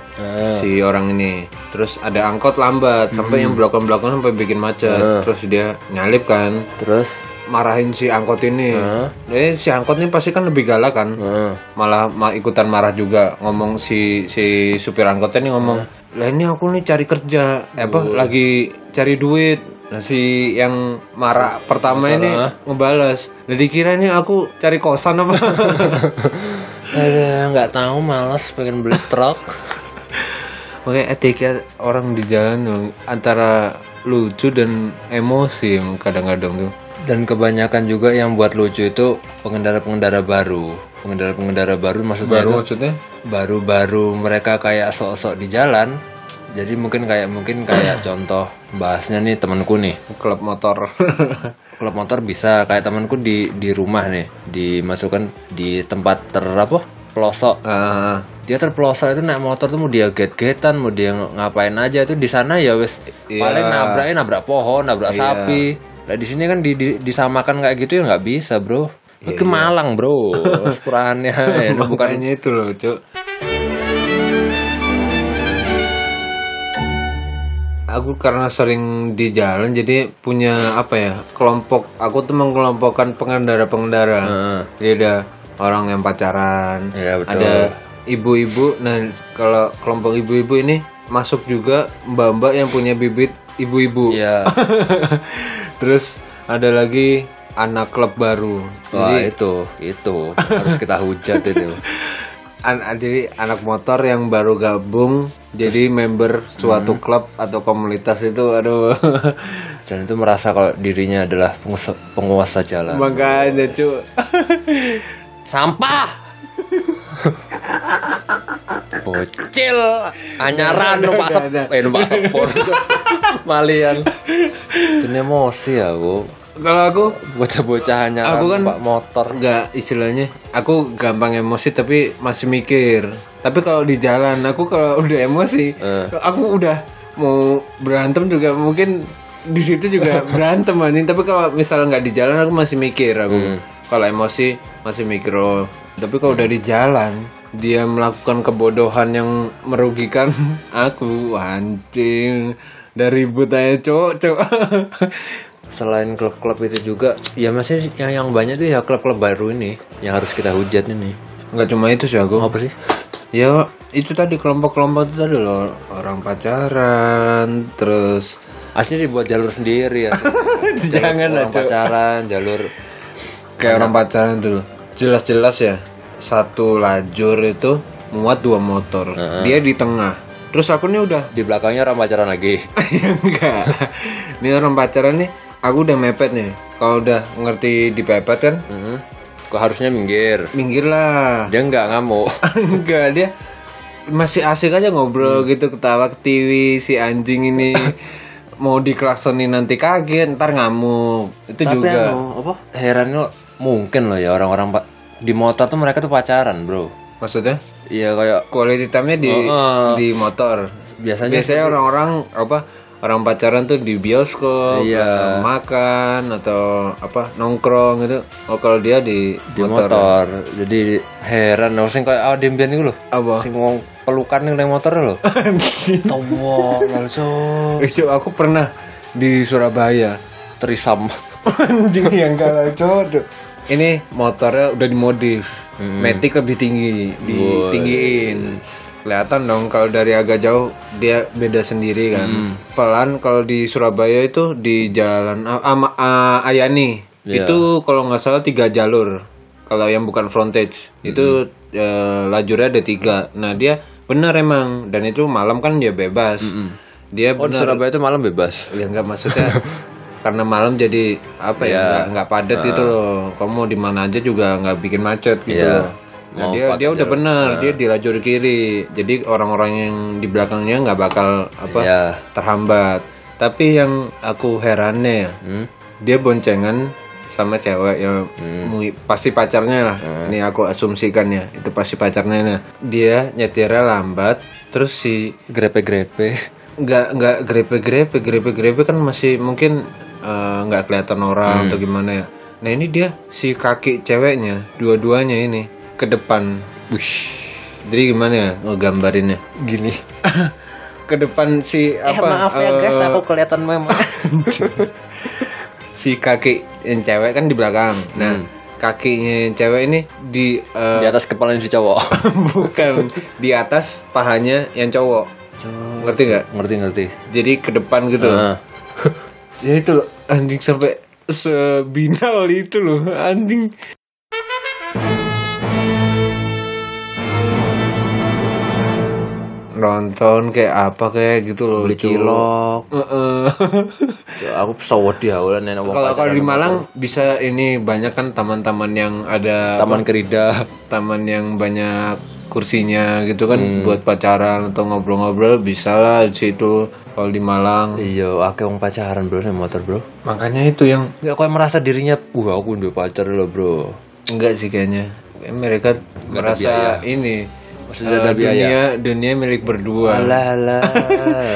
[SPEAKER 2] si orang ini. Terus ada angkot lambat sampai yang belakang-belakang sampai bikin macet. Terus dia nyalip kan,
[SPEAKER 1] Terus
[SPEAKER 2] marahin si angkot ini. Eh si angkot ini pasti kan lebih galak kan.
[SPEAKER 1] Heeh.
[SPEAKER 2] Malah ma- ikutan marah juga ngomong si si supir angkotnya nih ngomong, "Lah ini aku nih cari kerja, eh, apa lagi cari duit." Nah, si yang marah pertama ini ngebales. Nah, dikira ini aku cari kosan apa?
[SPEAKER 1] Aduh, nggak tahu males pengen beli truk.
[SPEAKER 2] Makanya etika orang di jalan yang antara lucu dan emosi yang kadang-kadang tuh.
[SPEAKER 1] Dan kebanyakan juga yang buat lucu itu pengendara-pengendara baru. Pengendara-pengendara baru maksudnya itu
[SPEAKER 2] Baru maksudnya?
[SPEAKER 1] baru-baru mereka kayak sok-sok di jalan jadi mungkin kayak mungkin kayak contoh bahasnya nih temanku nih
[SPEAKER 2] Klub motor.
[SPEAKER 1] klub motor bisa kayak temanku di di rumah nih dimasukkan di tempat ter apa pelosok
[SPEAKER 2] Ah.
[SPEAKER 1] dia terpelosok itu naik motor tuh mau dia get-getan mau dia ngapain aja itu di sana ya wes paling nabraknya nabrak pohon nabrak sapi lah di sini kan di, di- disamakan kayak gitu ya nggak bisa bro ke Malang bro sekurahannya ya, bukan
[SPEAKER 2] Bukannya itu loh, Cuk. Aku karena sering di jalan jadi punya apa ya kelompok. Aku tuh mengkelompokkan pengendara-pengendara. Jadi ada orang yang pacaran,
[SPEAKER 1] Iya, betul.
[SPEAKER 2] ada ibu-ibu. Nah kalau kelompok ibu-ibu ini masuk juga mbak-mbak yang punya bibit ibu-ibu.
[SPEAKER 1] ya
[SPEAKER 2] Terus ada lagi anak klub baru.
[SPEAKER 1] Wah itu itu harus kita hujat itu.
[SPEAKER 2] An- ah, jadi anak motor yang baru gabung jadi member suatu klub atau komunitas itu aduh
[SPEAKER 1] Dan itu merasa kalau dirinya adalah penguasa, penguasa jalan.
[SPEAKER 2] makanya cu
[SPEAKER 1] Sampah. Bocil, anyaran numpak sep, eh numpak sepur, malian. Jadi emosi aku,
[SPEAKER 2] kalau aku
[SPEAKER 1] bocah-bocah anyaran
[SPEAKER 2] Aku kan-
[SPEAKER 1] numpak motor.
[SPEAKER 2] nggak istilahnya aku gampang emosi tapi masih mikir tapi kalau di jalan aku kalau udah emosi aku udah mau berantem juga mungkin di situ juga berantem anjing tapi kalau misalnya nggak di jalan aku masih mikir aku kalau emosi masih mikir oh tapi kalau udah di jalan dia melakukan kebodohan yang merugikan aku anjing dari butanya cowok cowok
[SPEAKER 1] Selain klub-klub itu juga, ya masih yang yang banyak tuh ya klub-klub baru ini yang harus kita hujat ini.
[SPEAKER 2] nggak cuma itu sih aku
[SPEAKER 1] Apa sih?
[SPEAKER 2] Ya itu tadi kelompok-kelompok itu tadi loh orang pacaran terus
[SPEAKER 1] Aslinya dibuat jalur sendiri ya.
[SPEAKER 2] Jangan lah,
[SPEAKER 1] Orang pacaran, jalur
[SPEAKER 2] kayak orang pacaran dulu jelas-jelas ya satu lajur itu muat dua motor dia di tengah terus aku nih udah
[SPEAKER 1] di belakangnya orang pacaran lagi.
[SPEAKER 2] ya enggak ini orang pacaran nih aku udah mepet nih kalau udah ngerti dipepet kan
[SPEAKER 1] Hmm. Kok harusnya minggir?
[SPEAKER 2] minggir lah
[SPEAKER 1] Dia nggak ngamuk.
[SPEAKER 2] enggak dia masih asik aja
[SPEAKER 1] Hmm.
[SPEAKER 2] ngobrol gitu ketawa ketiwi si anjing ini mau dikelaksonin nanti kaget ntar ngamuk itu juga
[SPEAKER 1] apa? Heran lo, mungkin loh ya orang-orang pak di motor tuh mereka tuh pacaran bro.
[SPEAKER 2] maksudnya
[SPEAKER 1] Iya kayak
[SPEAKER 2] quality time-nya di
[SPEAKER 1] Oh, Iya,
[SPEAKER 2] di motor
[SPEAKER 1] biasanya
[SPEAKER 2] biasanya orang-orang apa orang pacaran tuh di bioskop
[SPEAKER 1] Iya.
[SPEAKER 2] atau makan atau apa nongkrong gitu oh kalau dia di
[SPEAKER 1] di motor. Jadi heran loh sing kayak adem biyen iku lho.
[SPEAKER 2] Apa?
[SPEAKER 1] Sing wong pelukan ning naik motor lho. Towo langsung
[SPEAKER 2] Eh, Cuk, aku pernah di Surabaya
[SPEAKER 1] trisam.
[SPEAKER 2] anjing yang kalah cowok ini motornya udah dimodif matic lebih tinggi ditinggiin kelihatan dong kalau dari agak jauh dia beda sendiri kan pelan kalau di Surabaya itu di jalan A- Ama- A- Ayani itu kalau nggak salah tiga jalur kalau yang bukan frontage itu eh, lajurnya ada tiga nah dia benar emang dan itu malam kan dia bebas dia
[SPEAKER 1] Oh, di Surabaya itu malam bebas.
[SPEAKER 2] ya nggak maksudnya karena malam jadi apa ya nggak nggak padat
[SPEAKER 1] Nah.
[SPEAKER 2] gitu loh kamu mau di mana aja juga nggak bikin macet gitu
[SPEAKER 1] Iya.
[SPEAKER 2] loh Nah, dia dia udah bener
[SPEAKER 1] Nah.
[SPEAKER 2] dia di lajur kiri jadi orang-orang yang di belakangnya nggak bakal apa
[SPEAKER 1] Iya.
[SPEAKER 2] terhambat tapi yang aku herannya ya
[SPEAKER 1] Hmm?
[SPEAKER 2] dia boncengan sama cewek ya mui- pasti pacarnya lah
[SPEAKER 1] Nah.
[SPEAKER 2] ini aku asumsikan ya itu pasti pacarnya nah. dia nyetirnya lambat terus si
[SPEAKER 1] Grepe-grepe.
[SPEAKER 2] nggak nggak grepe grepe grepe grepe kan masih mungkin eh, nggak kelihatan orang atau gimana ya nah ini dia si kaki ceweknya dua-duanya ini ke depan
[SPEAKER 1] Wih,
[SPEAKER 2] jadi gimana ya ngegambarinnya
[SPEAKER 1] gini.
[SPEAKER 2] ke depan si apa
[SPEAKER 1] ya,
[SPEAKER 2] eh,
[SPEAKER 1] aku kelihatan memang.
[SPEAKER 2] si kaki yang cewek kan di belakang nah kakinya yang cewek ini di eh,
[SPEAKER 1] di atas kepala si cowok.
[SPEAKER 2] bukan di atas pahanya yang cowok ngerti nggak
[SPEAKER 1] ngerti ngerti.
[SPEAKER 2] jadi ke depan gitu
[SPEAKER 1] Nah,
[SPEAKER 2] loh ya itu loh anjing sampai sebinal itu loh anjing nonton kayak apa kayak gitu loh
[SPEAKER 1] beli
[SPEAKER 2] Cuk.
[SPEAKER 1] cilok.
[SPEAKER 2] Heeh.
[SPEAKER 1] Cuk, Aku pesawat di haulan nenek wong
[SPEAKER 2] kalau kalau
[SPEAKER 1] pacaran.
[SPEAKER 2] di Malang bisa ini banyak kan taman-taman yang ada
[SPEAKER 1] Taman Kerida.
[SPEAKER 2] taman yang banyak kursinya gitu kan buat pacaran atau ngobrol-ngobrol bisa lah di situ kalau di Malang
[SPEAKER 1] Iya, akeh wong pacaran bro nih motor bro.
[SPEAKER 2] makanya itu yang
[SPEAKER 1] Nggak kau yang merasa dirinya, uh aku udah pacar lo bro.
[SPEAKER 2] Enggak sih kayaknya. Kayaknya mereka merasa ini
[SPEAKER 1] Maksudnya
[SPEAKER 2] eh,
[SPEAKER 1] ada biaya.
[SPEAKER 2] dunia dunia milik berdua.
[SPEAKER 1] Alah alah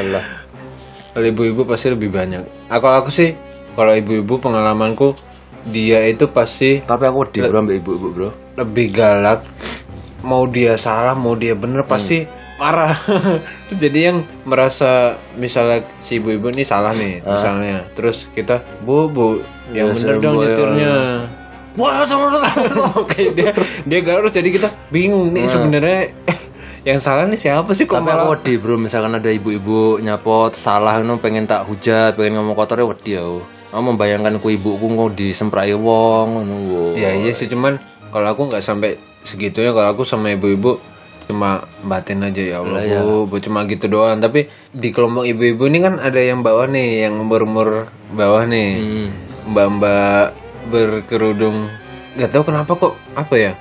[SPEAKER 1] alah.
[SPEAKER 2] Kalau ibu-ibu pasti lebih banyak. Ah, Kalau aku sih, kalau ibu-ibu pengalamanku dia itu pasti
[SPEAKER 1] Tapi aku di bro ambil ibu-ibu bro.
[SPEAKER 2] lebih galak. Mau dia salah, mau dia bener
[SPEAKER 1] Hmm.
[SPEAKER 2] pasti marah. Jadi yang merasa misalnya si ibu-ibu ini salah nih
[SPEAKER 1] Ah.
[SPEAKER 2] misalnya. Terus kita, "Bu, Bu, yang
[SPEAKER 1] Iya,
[SPEAKER 2] bener dong nyetirnya."
[SPEAKER 1] Wah sama
[SPEAKER 2] Oke dia dia harus jadi kita bingung nih sebenarnya eh, yang salah nih siapa sih kok
[SPEAKER 1] Tapi aku wedi bro, misalkan ada ibu-ibu nyapot salah ngono pengen tak hujat, pengen ngomong kotor ya wedi aku. Aku membayangkan ku ibuku kok disemprai wong ngono. wo.
[SPEAKER 2] ya iya sih cuman kalau aku nggak sampai segitunya kalau aku sama ibu-ibu cuma batin aja ya Allah bu, Bu, cuma gitu doang tapi di kelompok ibu-ibu ini kan ada yang bawah nih yang umur-umur bawah nih mbak-mbak berkerudung nggak tahu kenapa kok apa ya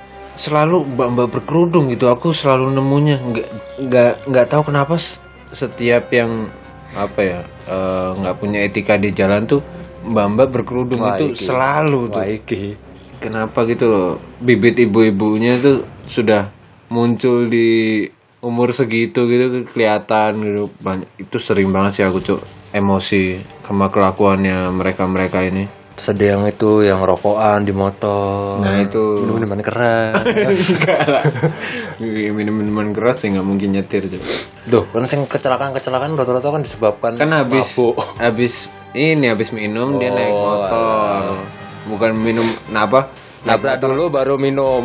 [SPEAKER 2] selalu mbak-mbak berkerudung gitu aku selalu nemunya nggak nggak nggak tahu kenapa s- setiap yang apa ya eh, nggak punya etika di jalan tuh mbak-mbak berkerudung itu selalu tuh
[SPEAKER 1] Iki.
[SPEAKER 2] Kenapa gitu loh? Bibit ibu-ibunya tuh sudah muncul di umur segitu gitu kelihatan gitu banyak itu sering banget sih aku cuk emosi sama kelakuannya mereka-mereka ini.
[SPEAKER 1] Terus ada yang itu yang rokokan di motor.
[SPEAKER 2] Nah, itu.
[SPEAKER 1] minuman keren.
[SPEAKER 2] Enggak lah. Minum-minuman keras sih nggak mungkin nyetir Cuk.
[SPEAKER 1] Duh, kan sing kecelakaan-kecelakaan rata-rata kan disebabkan
[SPEAKER 2] Kan habis habis ini habis minum dia naik motor. Bukan minum nah apa?
[SPEAKER 1] nabrak dulu baru minum.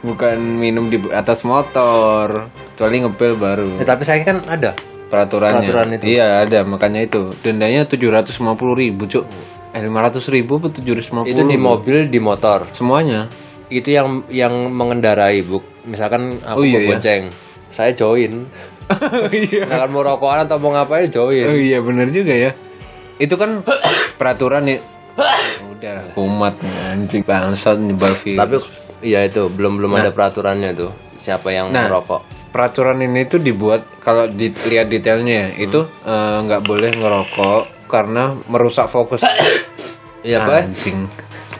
[SPEAKER 2] Bukan minum di atas motor. Kecuali ngepel baru.
[SPEAKER 1] Ya, tapi saya kan ada.
[SPEAKER 2] peraturannya.
[SPEAKER 1] Peraturan itu.
[SPEAKER 2] Iya ada makanya itu dendanya tujuh ratus lima puluh ribu cuk. Eh lima ratus ribu apa tujuh ratus lima
[SPEAKER 1] Itu
[SPEAKER 2] puluh?
[SPEAKER 1] di mobil, di motor.
[SPEAKER 2] Semuanya.
[SPEAKER 1] itu yang yang mengendarai bu misalkan aku
[SPEAKER 2] Oh, iya,
[SPEAKER 1] mau
[SPEAKER 2] iya.
[SPEAKER 1] bonceng saya join Oh,
[SPEAKER 2] iya.
[SPEAKER 1] misalkan mau rokokan atau mau ngapain join
[SPEAKER 2] Oh iya benar juga ya. Itu kan peraturan ya. Udah lah, kumat anjing bangsat nyebar virus.
[SPEAKER 1] tapi iya itu belum belum
[SPEAKER 2] Nah.
[SPEAKER 1] ada peraturannya tuh siapa yang merokok
[SPEAKER 2] peraturan ini tuh dibuat kalau dilihat
[SPEAKER 1] Hmm.
[SPEAKER 2] detailnya ya, itu eh, nggak boleh ngerokok karena merusak fokus
[SPEAKER 1] iya Pak.
[SPEAKER 2] anjing.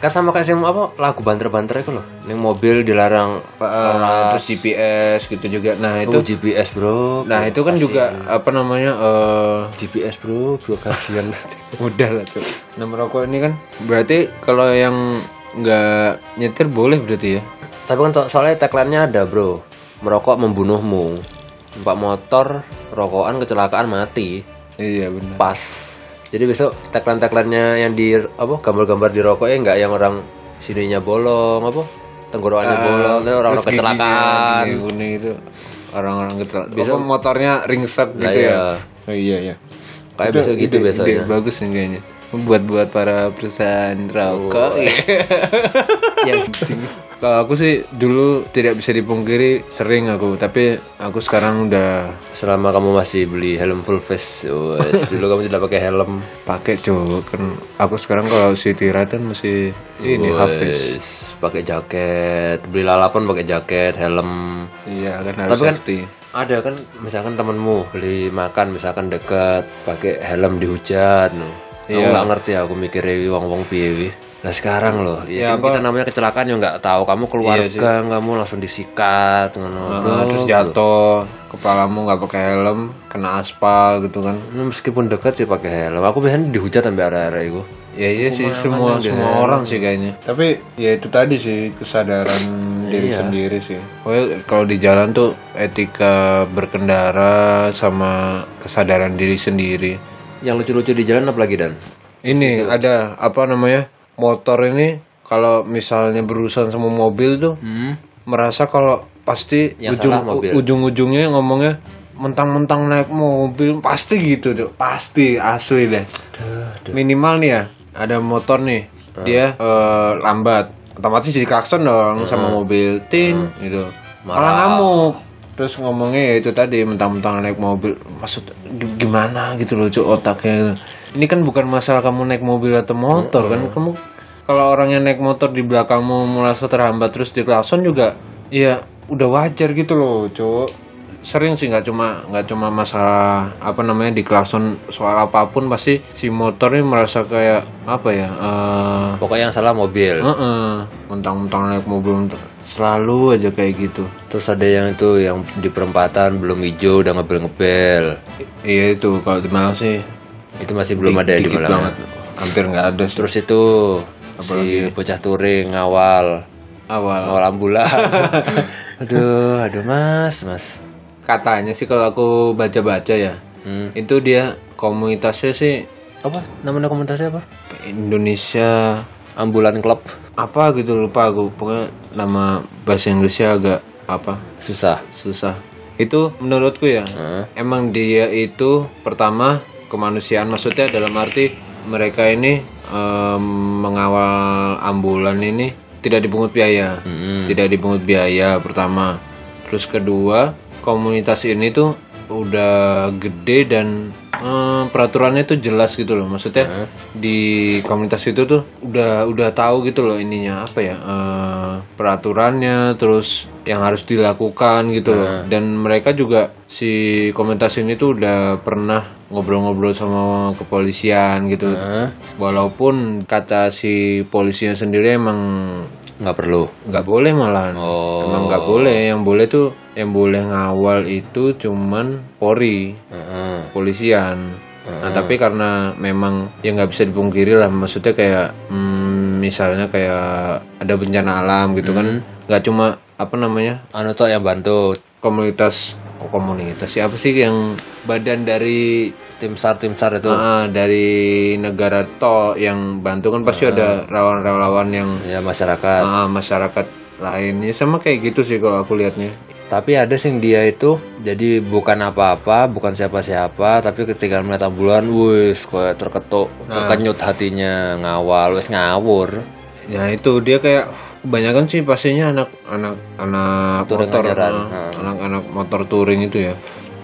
[SPEAKER 1] kan sama kayak SMA apa lagu banter-banter itu loh yang mobil dilarang
[SPEAKER 2] Eh, terus GPS gitu juga nah
[SPEAKER 1] itu
[SPEAKER 2] itu
[SPEAKER 1] GPS bro
[SPEAKER 2] nah itu kan juga
[SPEAKER 1] iya.
[SPEAKER 2] apa namanya eh
[SPEAKER 1] GPS bro bro kasihan
[SPEAKER 2] udah lah tuh nomor rokok ini kan berarti kalau yang nggak nyetir boleh berarti ya
[SPEAKER 1] tapi kan so- soalnya tagline-nya ada bro merokok membunuhmu empat motor rokokan kecelakaan mati
[SPEAKER 2] iya benar
[SPEAKER 1] pas jadi besok tagline tagline yang di apa gambar-gambar di rokoknya nggak yang orang sininya bolong apa tenggorokannya bolong itu orang-orang kecelakaan
[SPEAKER 2] Kan. itu orang-orang kecelakaan bisa motornya ringsek gitu
[SPEAKER 1] iya.
[SPEAKER 2] ya oh, iya iya
[SPEAKER 1] kayak
[SPEAKER 2] Itu
[SPEAKER 1] besok gitu
[SPEAKER 2] ide-
[SPEAKER 1] besoknya
[SPEAKER 2] ide bagus nih kayaknya buat buat para perusahaan rokok Oh.
[SPEAKER 1] Yang-
[SPEAKER 2] kalau aku sih dulu tidak bisa dipungkiri sering aku tapi aku sekarang udah
[SPEAKER 1] selama kamu masih beli helm full face wes, dulu kamu tidak pakai helm
[SPEAKER 2] pakai cowok kan aku sekarang kalau city ride kan masih ini Hafiz
[SPEAKER 1] Wes, pakai jaket beli lalapan pakai jaket helm
[SPEAKER 2] iya kan harus
[SPEAKER 1] Tapi kan-
[SPEAKER 2] safety.
[SPEAKER 1] ada kan misalkan temenmu beli makan misalkan dekat pakai helm dihujat no. Aku nggak ngerti aku mikir wong wong piye wi. Nah sekarang loh, ya, kan kita namanya kecelakaan ya nggak tahu. Kamu keluarga, kamu langsung disikat, ngono. Bro,
[SPEAKER 2] Nah, terus jatuh kepalamu nggak pakai helm kena aspal gitu kan
[SPEAKER 1] Nah, Meskipun dekat ya pakai helm. Aku biasanya dihujat sampai arah-arah itu.
[SPEAKER 2] ya iya sih semua semua orang sih kayaknya tapi ya itu tadi sih kesadaran diri sendiri sih Iya. Pokoknya kalau di jalan tuh etika berkendara sama kesadaran diri sendiri
[SPEAKER 1] Yang lucu-lucu di jalan apalagi dan?
[SPEAKER 2] ini ada apa namanya motor ini kalau misalnya berurusan sama mobil tuh
[SPEAKER 1] Hmm?
[SPEAKER 2] merasa kalau pasti ujung
[SPEAKER 1] salah mobil.
[SPEAKER 2] u- ujung-ujungnya ngomongnya mentang-mentang naik mobil pasti gitu tuh pasti asli deh minimal nih ya ada motor nih dia eh, lambat otomatis jadi klakson dong sama mobil tin gitu malah ngamuk terus ngomongnya ya itu tadi mentang-mentang naik mobil maksud gi- gimana gitu loh cuy otaknya ini kan bukan masalah kamu naik mobil atau motor kan kamu kalau orang yang naik motor di belakangmu merasa terhambat terus di klakson juga ya udah wajar gitu loh cuy sering sih nggak cuma nggak cuma masalah apa namanya di klakson soal apapun pasti si motor ini merasa kayak apa ya eh
[SPEAKER 1] Pokoknya yang salah mobil.
[SPEAKER 2] eh, mentang-mentang naik mobil mentang- selalu aja kayak gitu
[SPEAKER 1] Terus ada yang itu yang di perempatan belum hijau udah ngebel-ngebel.
[SPEAKER 2] I- iya itu kalau di Malang sih
[SPEAKER 1] Itu masih belum ada Iya, di
[SPEAKER 2] dikit
[SPEAKER 1] Malang. ya.
[SPEAKER 2] banget hampir nggak ada sih.
[SPEAKER 1] Terus itu si bocah touring ngawal
[SPEAKER 2] awal
[SPEAKER 1] ngawal ambulan. aduh, aduh mas, mas.
[SPEAKER 2] katanya sih kalau aku baca-baca ya
[SPEAKER 1] Hmm.
[SPEAKER 2] itu dia komunitasnya sih
[SPEAKER 1] Apa nama komunitasnya apa?
[SPEAKER 2] Indonesia
[SPEAKER 1] Ambulan Club.
[SPEAKER 2] apa gitu lupa aku pokoknya nama bahasa Inggrisnya agak apa
[SPEAKER 1] Susah.
[SPEAKER 2] susah itu menurutku ya emang dia itu pertama kemanusiaan maksudnya dalam arti mereka ini em, mengawal ambulan ini tidak dipungut biaya tidak dipungut biaya pertama terus kedua komunitas ini tuh udah gede dan em, Eh, peraturannya tuh jelas gitu loh maksudnya di komunitas itu tuh udah udah tahu gitu loh ininya apa ya eh, peraturannya terus yang harus dilakukan gitu loh dan mereka juga si komunitas ini tuh udah pernah ngobrol-ngobrol sama kepolisian gitu
[SPEAKER 1] Eh.
[SPEAKER 2] walaupun kata si polisinya sendiri emang
[SPEAKER 1] Nggak perlu.
[SPEAKER 2] nggak boleh malahan
[SPEAKER 1] Oh.
[SPEAKER 2] emang nggak boleh yang boleh tuh yang boleh ngawal itu cuman Polri
[SPEAKER 1] Heeh.
[SPEAKER 2] kepolisian. Nah, tapi karena memang ya nggak bisa dipungkiri lah, maksudnya kayak hmm, misalnya kayak ada bencana alam gitu kan, nggak cuma apa namanya
[SPEAKER 1] Anu toh yang bantu
[SPEAKER 2] komunitas kok komunitas siapa sih yang badan dari
[SPEAKER 1] tim sar tim sar itu.
[SPEAKER 2] ah, dari negara to yang bantu kan pasti ada relawan-relawan yang
[SPEAKER 1] Ya masyarakat.
[SPEAKER 2] ah, masyarakat lainnya sama kayak gitu sih kalau aku lihatnya.
[SPEAKER 1] Tapi ada sih yang dia itu jadi bukan apa-apa, bukan siapa-siapa, tapi ketika melihat ambulan, wis kayak terketuk, terkenyut hatinya, ngawal, wis ngawur.
[SPEAKER 2] Ya itu dia kayak kebanyakan sih pastinya anak-anak anak motor nah, anak-anak motor touring itu ya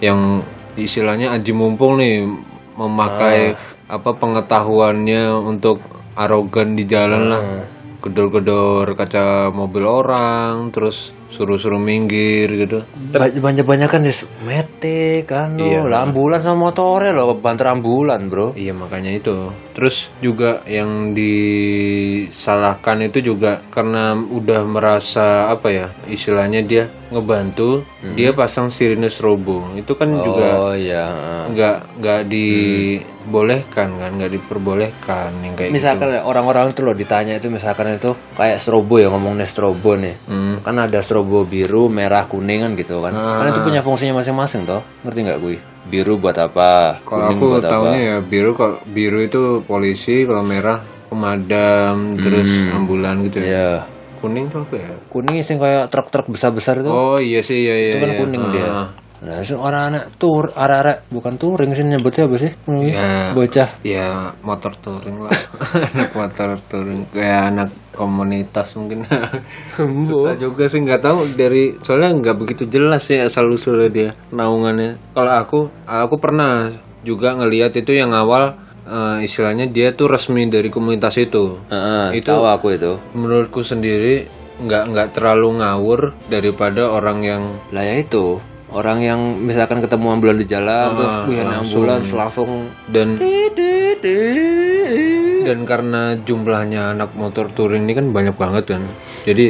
[SPEAKER 2] yang istilahnya aji mumpung nih memakai apa pengetahuannya untuk arogan di jalan lah gedor-gedor kaca mobil orang terus suruh-suruh minggir gitu
[SPEAKER 1] banyak banyak kan ya mete kan lo ambulan sama motornya lo banter ambulan bro
[SPEAKER 2] Iya makanya itu. Terus juga yang disalahkan itu juga karena udah merasa apa ya istilahnya dia ngebantu dia pasang sirine strobo itu kan juga
[SPEAKER 1] Hmm. oh iya
[SPEAKER 2] nggak nggak dibolehkan kan nggak diperbolehkan yang kayak gitu.
[SPEAKER 1] misalkan ya, orang-orang itu loh ditanya itu misalkan itu kayak strobo ya ngomongnya strobo nih kan ada strobo biru merah kuning kan gitu kan kan itu punya fungsinya masing-masing toh ngerti nggak gue biru buat apa
[SPEAKER 2] Kalau
[SPEAKER 1] kuning
[SPEAKER 2] aku
[SPEAKER 1] buat apa
[SPEAKER 2] tahunya ya biru kalau biru itu polisi kalau merah pemadam terus
[SPEAKER 1] Hmm.
[SPEAKER 2] ambulan gitu ya.
[SPEAKER 1] ya
[SPEAKER 2] Kuning tuh apa ya?
[SPEAKER 1] kuning sih kayak truk-truk besar-besar itu
[SPEAKER 2] Oh iya sih iya iya.
[SPEAKER 1] itu kan
[SPEAKER 2] iya.
[SPEAKER 1] kuning dia nah itu orang anak tur arah-arah bukan touring sih nyebutnya apa sih
[SPEAKER 2] Ya.
[SPEAKER 1] bocah
[SPEAKER 2] Ya motor touring lah Anak motor touring Kayak anak komunitas mungkin Susah juga sih nggak tahu dari Soalnya nggak begitu jelas sih asal usulnya dia Naungannya Kalau aku Aku pernah juga ngelihat itu yang awal eh, Istilahnya dia tuh resmi dari komunitas itu
[SPEAKER 1] itu tahu aku itu
[SPEAKER 2] Menurutku sendiri nggak nggak terlalu ngawur daripada orang yang
[SPEAKER 1] lah ya itu orang yang misalkan ketemu ambulan di jalan terus wih ada ambulan langsung
[SPEAKER 2] dan dan karena jumlahnya anak motor touring ini kan banyak banget kan jadi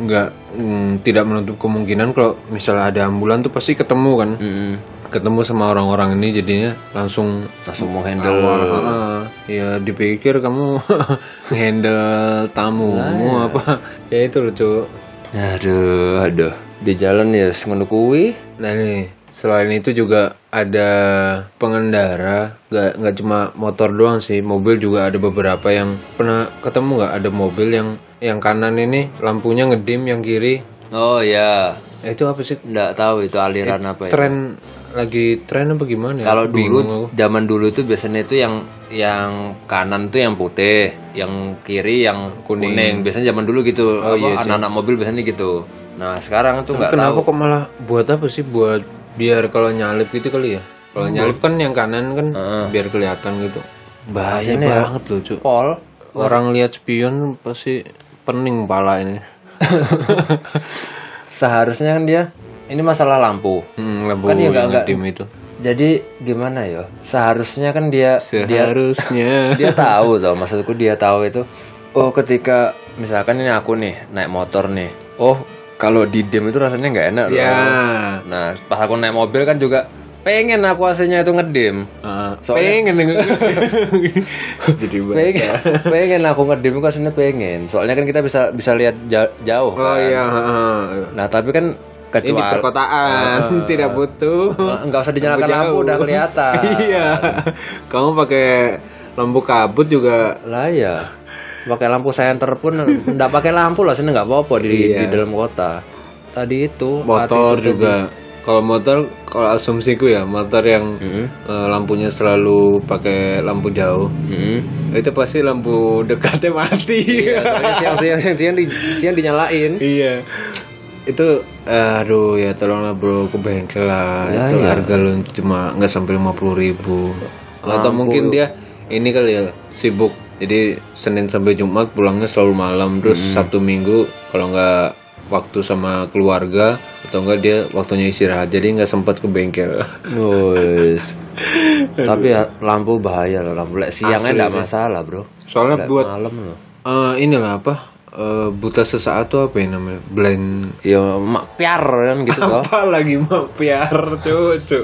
[SPEAKER 2] nggak mm, tidak menutup kemungkinan kalau misalnya ada ambulan tuh pasti ketemu kan
[SPEAKER 1] Mm-mm.
[SPEAKER 2] ketemu sama orang-orang ini jadinya langsung
[SPEAKER 1] langsung mau handle
[SPEAKER 2] "Ah, ya dipikir kamu handle tamu apa ya itu lucu
[SPEAKER 1] Aduh, aduh. Di jalan ya semenuk kui.
[SPEAKER 2] Nah nih, selain itu juga ada pengendara, nggak nggak cuma motor doang sih, mobil juga ada beberapa yang pernah ketemu nggak ada mobil yang yang kanan ini lampunya ngedim, yang kiri
[SPEAKER 1] Oh ya,
[SPEAKER 2] eh, itu apa sih?
[SPEAKER 1] nggak tahu itu aliran apa ya.
[SPEAKER 2] Tren lagi tren apa gimana? ya?
[SPEAKER 1] Kalau
[SPEAKER 2] Bingung aku.
[SPEAKER 1] dulu zaman dulu itu biasanya itu yang yang kanan tuh yang putih, yang kiri yang kuning. Biasanya zaman dulu gitu. Apa, anak-anak mobil biasanya gitu. Nah, sekarang tuh nggak
[SPEAKER 2] kenapa kok malah buat apa sih? Buat biar kalau nyalip gitu kali ya? Kalau nyalip kan yang kanan kan biar kelihatan gitu. Bahaya banget loh, Cuk.
[SPEAKER 1] ya. pol.
[SPEAKER 2] Orang lihat spion pasti pening pala ini.
[SPEAKER 1] Seharusnya kan dia ini masalah lampu.
[SPEAKER 2] Hmm, lampu
[SPEAKER 1] Kan ya nggak-
[SPEAKER 2] yang
[SPEAKER 1] nggak-
[SPEAKER 2] ngedim itu.
[SPEAKER 1] Jadi gimana ya? Seharusnya kan dia dia
[SPEAKER 2] Seharusnya.
[SPEAKER 1] dia tahu tuh maksudku dia tahu itu oh ketika misalkan ini aku nih naik motor nih oh kalau di dim itu rasanya nggak enak loh
[SPEAKER 2] ya.
[SPEAKER 1] nah pas aku naik mobil kan juga pengen aku aslinya itu ngedim
[SPEAKER 2] Soalnya pengen jadi
[SPEAKER 1] pengen, pengen aku ngedim aku aslinya pengen soalnya kan kita bisa bisa lihat ja- jauh
[SPEAKER 2] Oh
[SPEAKER 1] kan.
[SPEAKER 2] iya, heeh.
[SPEAKER 1] nah tapi kan
[SPEAKER 2] Ini
[SPEAKER 1] kecuali
[SPEAKER 2] perkotaan, tidak butuh.
[SPEAKER 1] nggak usah dinyalakan
[SPEAKER 2] Lampu
[SPEAKER 1] lampu
[SPEAKER 2] jauh.
[SPEAKER 1] udah kelihatan
[SPEAKER 2] iya. Kamu pakai lampu kabut juga
[SPEAKER 1] lah ya pakai lampu senter pun nggak pakai lampu lah sini nggak apa-apa di,
[SPEAKER 2] Iya.
[SPEAKER 1] di dalam kota tadi itu
[SPEAKER 2] motor juga. Kalau motor, kalau asumsiku ya, motor yang
[SPEAKER 1] Mm-hmm.
[SPEAKER 2] eh, lampunya selalu pakai lampu jauh.
[SPEAKER 1] Mm-mm.
[SPEAKER 2] Itu pasti lampu dekatnya mati.
[SPEAKER 1] Soalnya siang siang siang siang, di, siang dinyalain
[SPEAKER 2] iya itu aduh ya tolonglah bro ke bengkel lah iya. itu harga lu cuma nggak sampai lima puluh ribu atau mungkin dia ini kali ya sibuk jadi senin sampai jumat pulangnya selalu malam terus sabtu minggu kalau nggak waktu sama keluarga atau enggak dia waktunya istirahat jadi nggak sempat ke bengkel
[SPEAKER 1] Wes. tapi ya, lampu bahaya loh lampu Lek siangnya nggak masalah bro
[SPEAKER 2] soalnya buat
[SPEAKER 1] malam loh
[SPEAKER 2] eh, inilah apa eh, buta sesaat tuh apa ya namanya blind
[SPEAKER 1] ya mak piar kan gitu toh
[SPEAKER 2] apa lagi mau piar cucu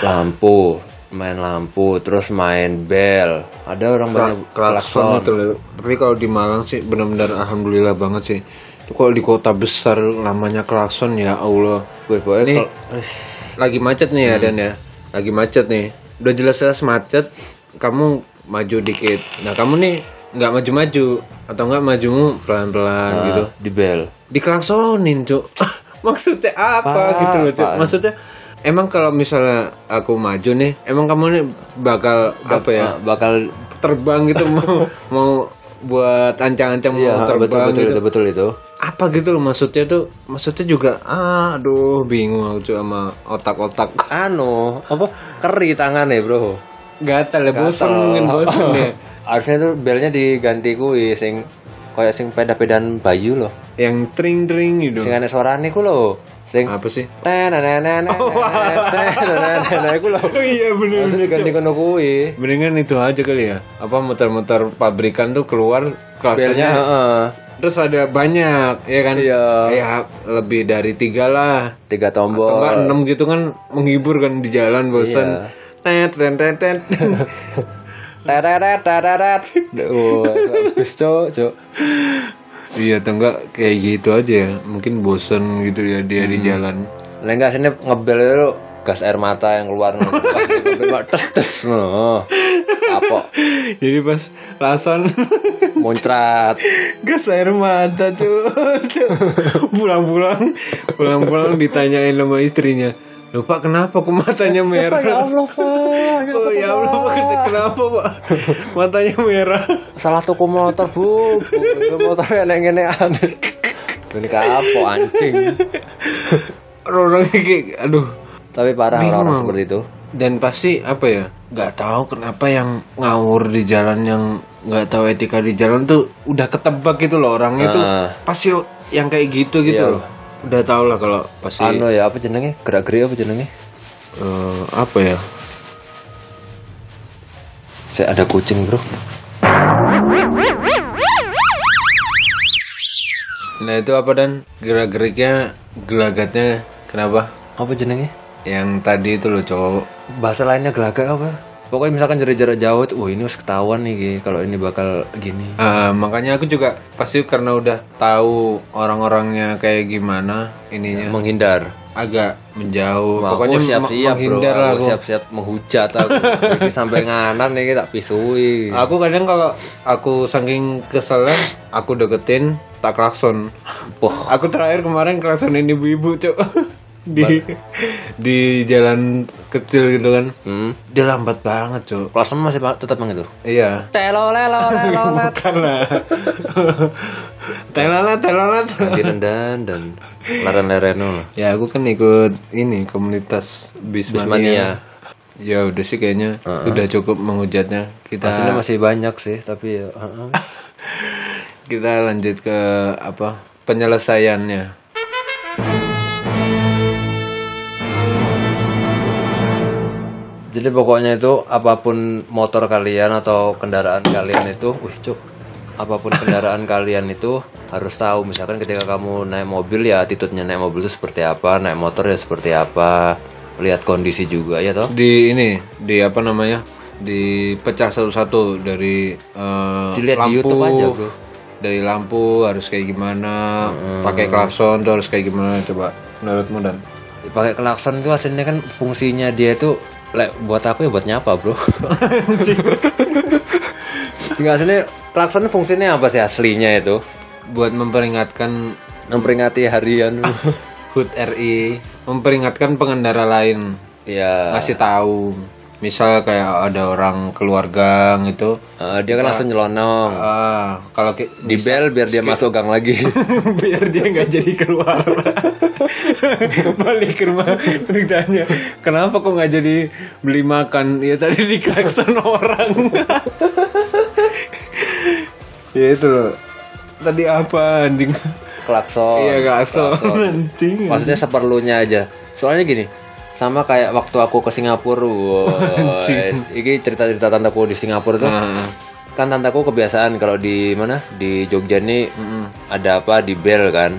[SPEAKER 1] lampu main lampu terus main bel ada orang banyak
[SPEAKER 2] klakson itu loh. tapi kalau di Malang sih benar-benar alhamdulillah banget sih itu kalau di kota besar namanya klakson ya Allah
[SPEAKER 1] gue pokoknya
[SPEAKER 2] Nih.
[SPEAKER 1] kel- Wes.
[SPEAKER 2] lagi macet nih ya Dan ya lagi macet nih udah jelas-jelas macet kamu maju dikit nah kamu nih nggak maju-maju atau nggak majumu pelan-pelan gitu
[SPEAKER 1] ah, di bel
[SPEAKER 2] diklaksonin cuk maksudnya apa gitu loh cuk maksudnya emang kalau misalnya aku maju nih emang kamu nih bakal apa ya
[SPEAKER 1] Nah, bakal
[SPEAKER 2] terbang gitu mau mau buat ancang-ancang mau
[SPEAKER 1] betul
[SPEAKER 2] terbang
[SPEAKER 1] betul Iya, betul,
[SPEAKER 2] gitu.
[SPEAKER 1] itu, betul itu
[SPEAKER 2] apa gitu loh maksudnya tuh maksudnya juga aduh bingung aku juga sama otak-otak
[SPEAKER 1] anu apa keri tangannya bro
[SPEAKER 2] gatal ya bosan mungkin bosan ya
[SPEAKER 1] harusnya tuh belnya diganti kui sing kayak sing peda-pedaan Bayu loh.
[SPEAKER 2] Yang tring tring gitu.
[SPEAKER 1] Sing ana suarane ku loh. Sing
[SPEAKER 2] Apa sih?
[SPEAKER 1] nenenenenen, nenenenenen ku loh.
[SPEAKER 2] Oh iya bener.
[SPEAKER 1] Terus diganti kono kuwi.
[SPEAKER 2] Mendingan itu aja kali ya. Apa muter-muter pabrikan tuh keluar
[SPEAKER 1] Belnya
[SPEAKER 2] klasernya.
[SPEAKER 1] heeh.
[SPEAKER 2] Terus ada banyak ya kan?
[SPEAKER 1] Iya.
[SPEAKER 2] Ya lebih dari tiga lah.
[SPEAKER 1] Tiga
[SPEAKER 2] Atau
[SPEAKER 1] tombol.
[SPEAKER 2] enggak enam gitu kan menghibur kan di jalan bosan. Tet tet tet tet.
[SPEAKER 1] Teret teret. Oh, habis cok, cok.
[SPEAKER 2] Iya atau enggak kayak gitu aja ya. Mungkin bosan gitu ya dia
[SPEAKER 1] Hmm.
[SPEAKER 2] di jalan.
[SPEAKER 1] Lah enggak sini ngebel itu gas air mata yang keluar ngono. Ngebel, tes tes ngono. Apa
[SPEAKER 2] Jadi pas lasan
[SPEAKER 1] muncrat.
[SPEAKER 2] gas air mata tuh. Pulang-pulang pulang-pulang ditanyain sama istrinya. Loh pak kenapa kok matanya merah?
[SPEAKER 1] ya Allah, Pak.
[SPEAKER 2] Oh ya Allah Pak, kenapa pak? Matanya merah.
[SPEAKER 1] Salah tuku motor, Bu. Tuku motor enek ngene aneh. Ini apa anjing.
[SPEAKER 2] Orang kayak aduh
[SPEAKER 1] Tapi parah orang-orang
[SPEAKER 2] Bingung.
[SPEAKER 1] seperti itu.
[SPEAKER 2] dan pasti apa ya nggak tahu kenapa yang ngawur di jalan yang nggak tahu etika di jalan tuh udah ketebak gitu loh orangnya tuh
[SPEAKER 1] Ah.
[SPEAKER 2] pasti yang kayak gitu gitu loh udah tau lah kalau pasti
[SPEAKER 1] Anu ya apa jenenge? Gerak-gerik apa jenenge?
[SPEAKER 2] eh, apa ya
[SPEAKER 1] Saya ada kucing, Bro.
[SPEAKER 2] nah itu apa dan gerak-geriknya gelagatnya kenapa
[SPEAKER 1] Apa jenenge?
[SPEAKER 2] yang tadi itu loh cowok
[SPEAKER 1] Bahasa lainnya gelagak apa? Pokoknya misalkan dari jarak jauh, tuh, oh ini harus ketahuan nih Ki, kalau ini bakal gini.
[SPEAKER 2] Eh, makanya aku juga pasti karena udah tahu orang-orangnya kayak gimana ininya
[SPEAKER 1] Menghindar.
[SPEAKER 2] agak menjauh
[SPEAKER 1] Wah,
[SPEAKER 2] pokoknya
[SPEAKER 1] aku
[SPEAKER 2] me-
[SPEAKER 1] siap-siap bro,
[SPEAKER 2] Oh, menghindar lah
[SPEAKER 1] aku
[SPEAKER 2] aku.
[SPEAKER 1] siap-siap menghujat aku. Iki sampai nganan nih tak pisui.
[SPEAKER 2] Aku kadang kalau aku saking keselnya aku deketin tak klakson.
[SPEAKER 1] Wah,
[SPEAKER 2] Aku terakhir kemarin klaksonin ibu-ibu, Cuk. Di di jalan kecil gitu kan.
[SPEAKER 1] hmm.
[SPEAKER 2] Dia lambat banget, Cuk.
[SPEAKER 1] Kelas enam masih pa- tetap begitu.
[SPEAKER 2] Iya.
[SPEAKER 1] Telo lelo lelo let.
[SPEAKER 2] Karena Telolet, telolet.
[SPEAKER 1] Nanti rendan dan laren lereno.
[SPEAKER 2] Ya, aku kan ikut ini komunitas Bismania.
[SPEAKER 1] Bismania.
[SPEAKER 2] Ya udah sih kayaknya udah cukup menghujatnya. Kita
[SPEAKER 1] Hasilnya masih banyak sih, tapi ya, uh-uh.
[SPEAKER 2] kita lanjut ke apa penyelesaiannya
[SPEAKER 1] Jadi pokoknya itu apapun motor kalian atau kendaraan kalian itu, wih cuk, apapun kendaraan kalian itu harus tahu misalkan ketika kamu naik mobil ya attitude-nya naik mobil itu seperti apa, naik motor ya seperti apa, lihat kondisi juga ya toh.
[SPEAKER 2] di ini di apa namanya dipecah satu-satu dari eh,
[SPEAKER 1] Dilihat di
[SPEAKER 2] lampu
[SPEAKER 1] YouTube aja, bro. Hmm.
[SPEAKER 2] dari lampu harus kayak gimana pakai klakson tuh harus kayak gimana coba menurutmu dan
[SPEAKER 1] Pakai klakson itu aslinya kan fungsinya dia itu lek, buat aku ya buat nyapa, Bro. Enggak aslinya klakson fungsinya apa sih aslinya itu?
[SPEAKER 2] buat memperingatkan
[SPEAKER 1] Memperingati harian.
[SPEAKER 2] HUT RI memperingatkan pengendara lain
[SPEAKER 1] ya,
[SPEAKER 2] kasih tahu misal kayak ada orang keluarga gitu
[SPEAKER 1] eh, dia kan langsung nyelonong.
[SPEAKER 2] ah kalau ki-
[SPEAKER 1] di bel biar dia masuk gang lagi
[SPEAKER 2] biar dia nggak jadi keluar balik ke rumah terus tanya kenapa kok nggak jadi beli makan ya tadi di klakson orang ya itu loh tadi apa anjing
[SPEAKER 1] klakson
[SPEAKER 2] iya klakson anjing
[SPEAKER 1] maksudnya seperlunya aja soalnya gini sama kayak waktu aku ke Singapura wow, ini cerita-cerita tanteku di Singapura tuh kan tanteku kebiasaan kalau di mana di Jogja nih ada apa di bel kan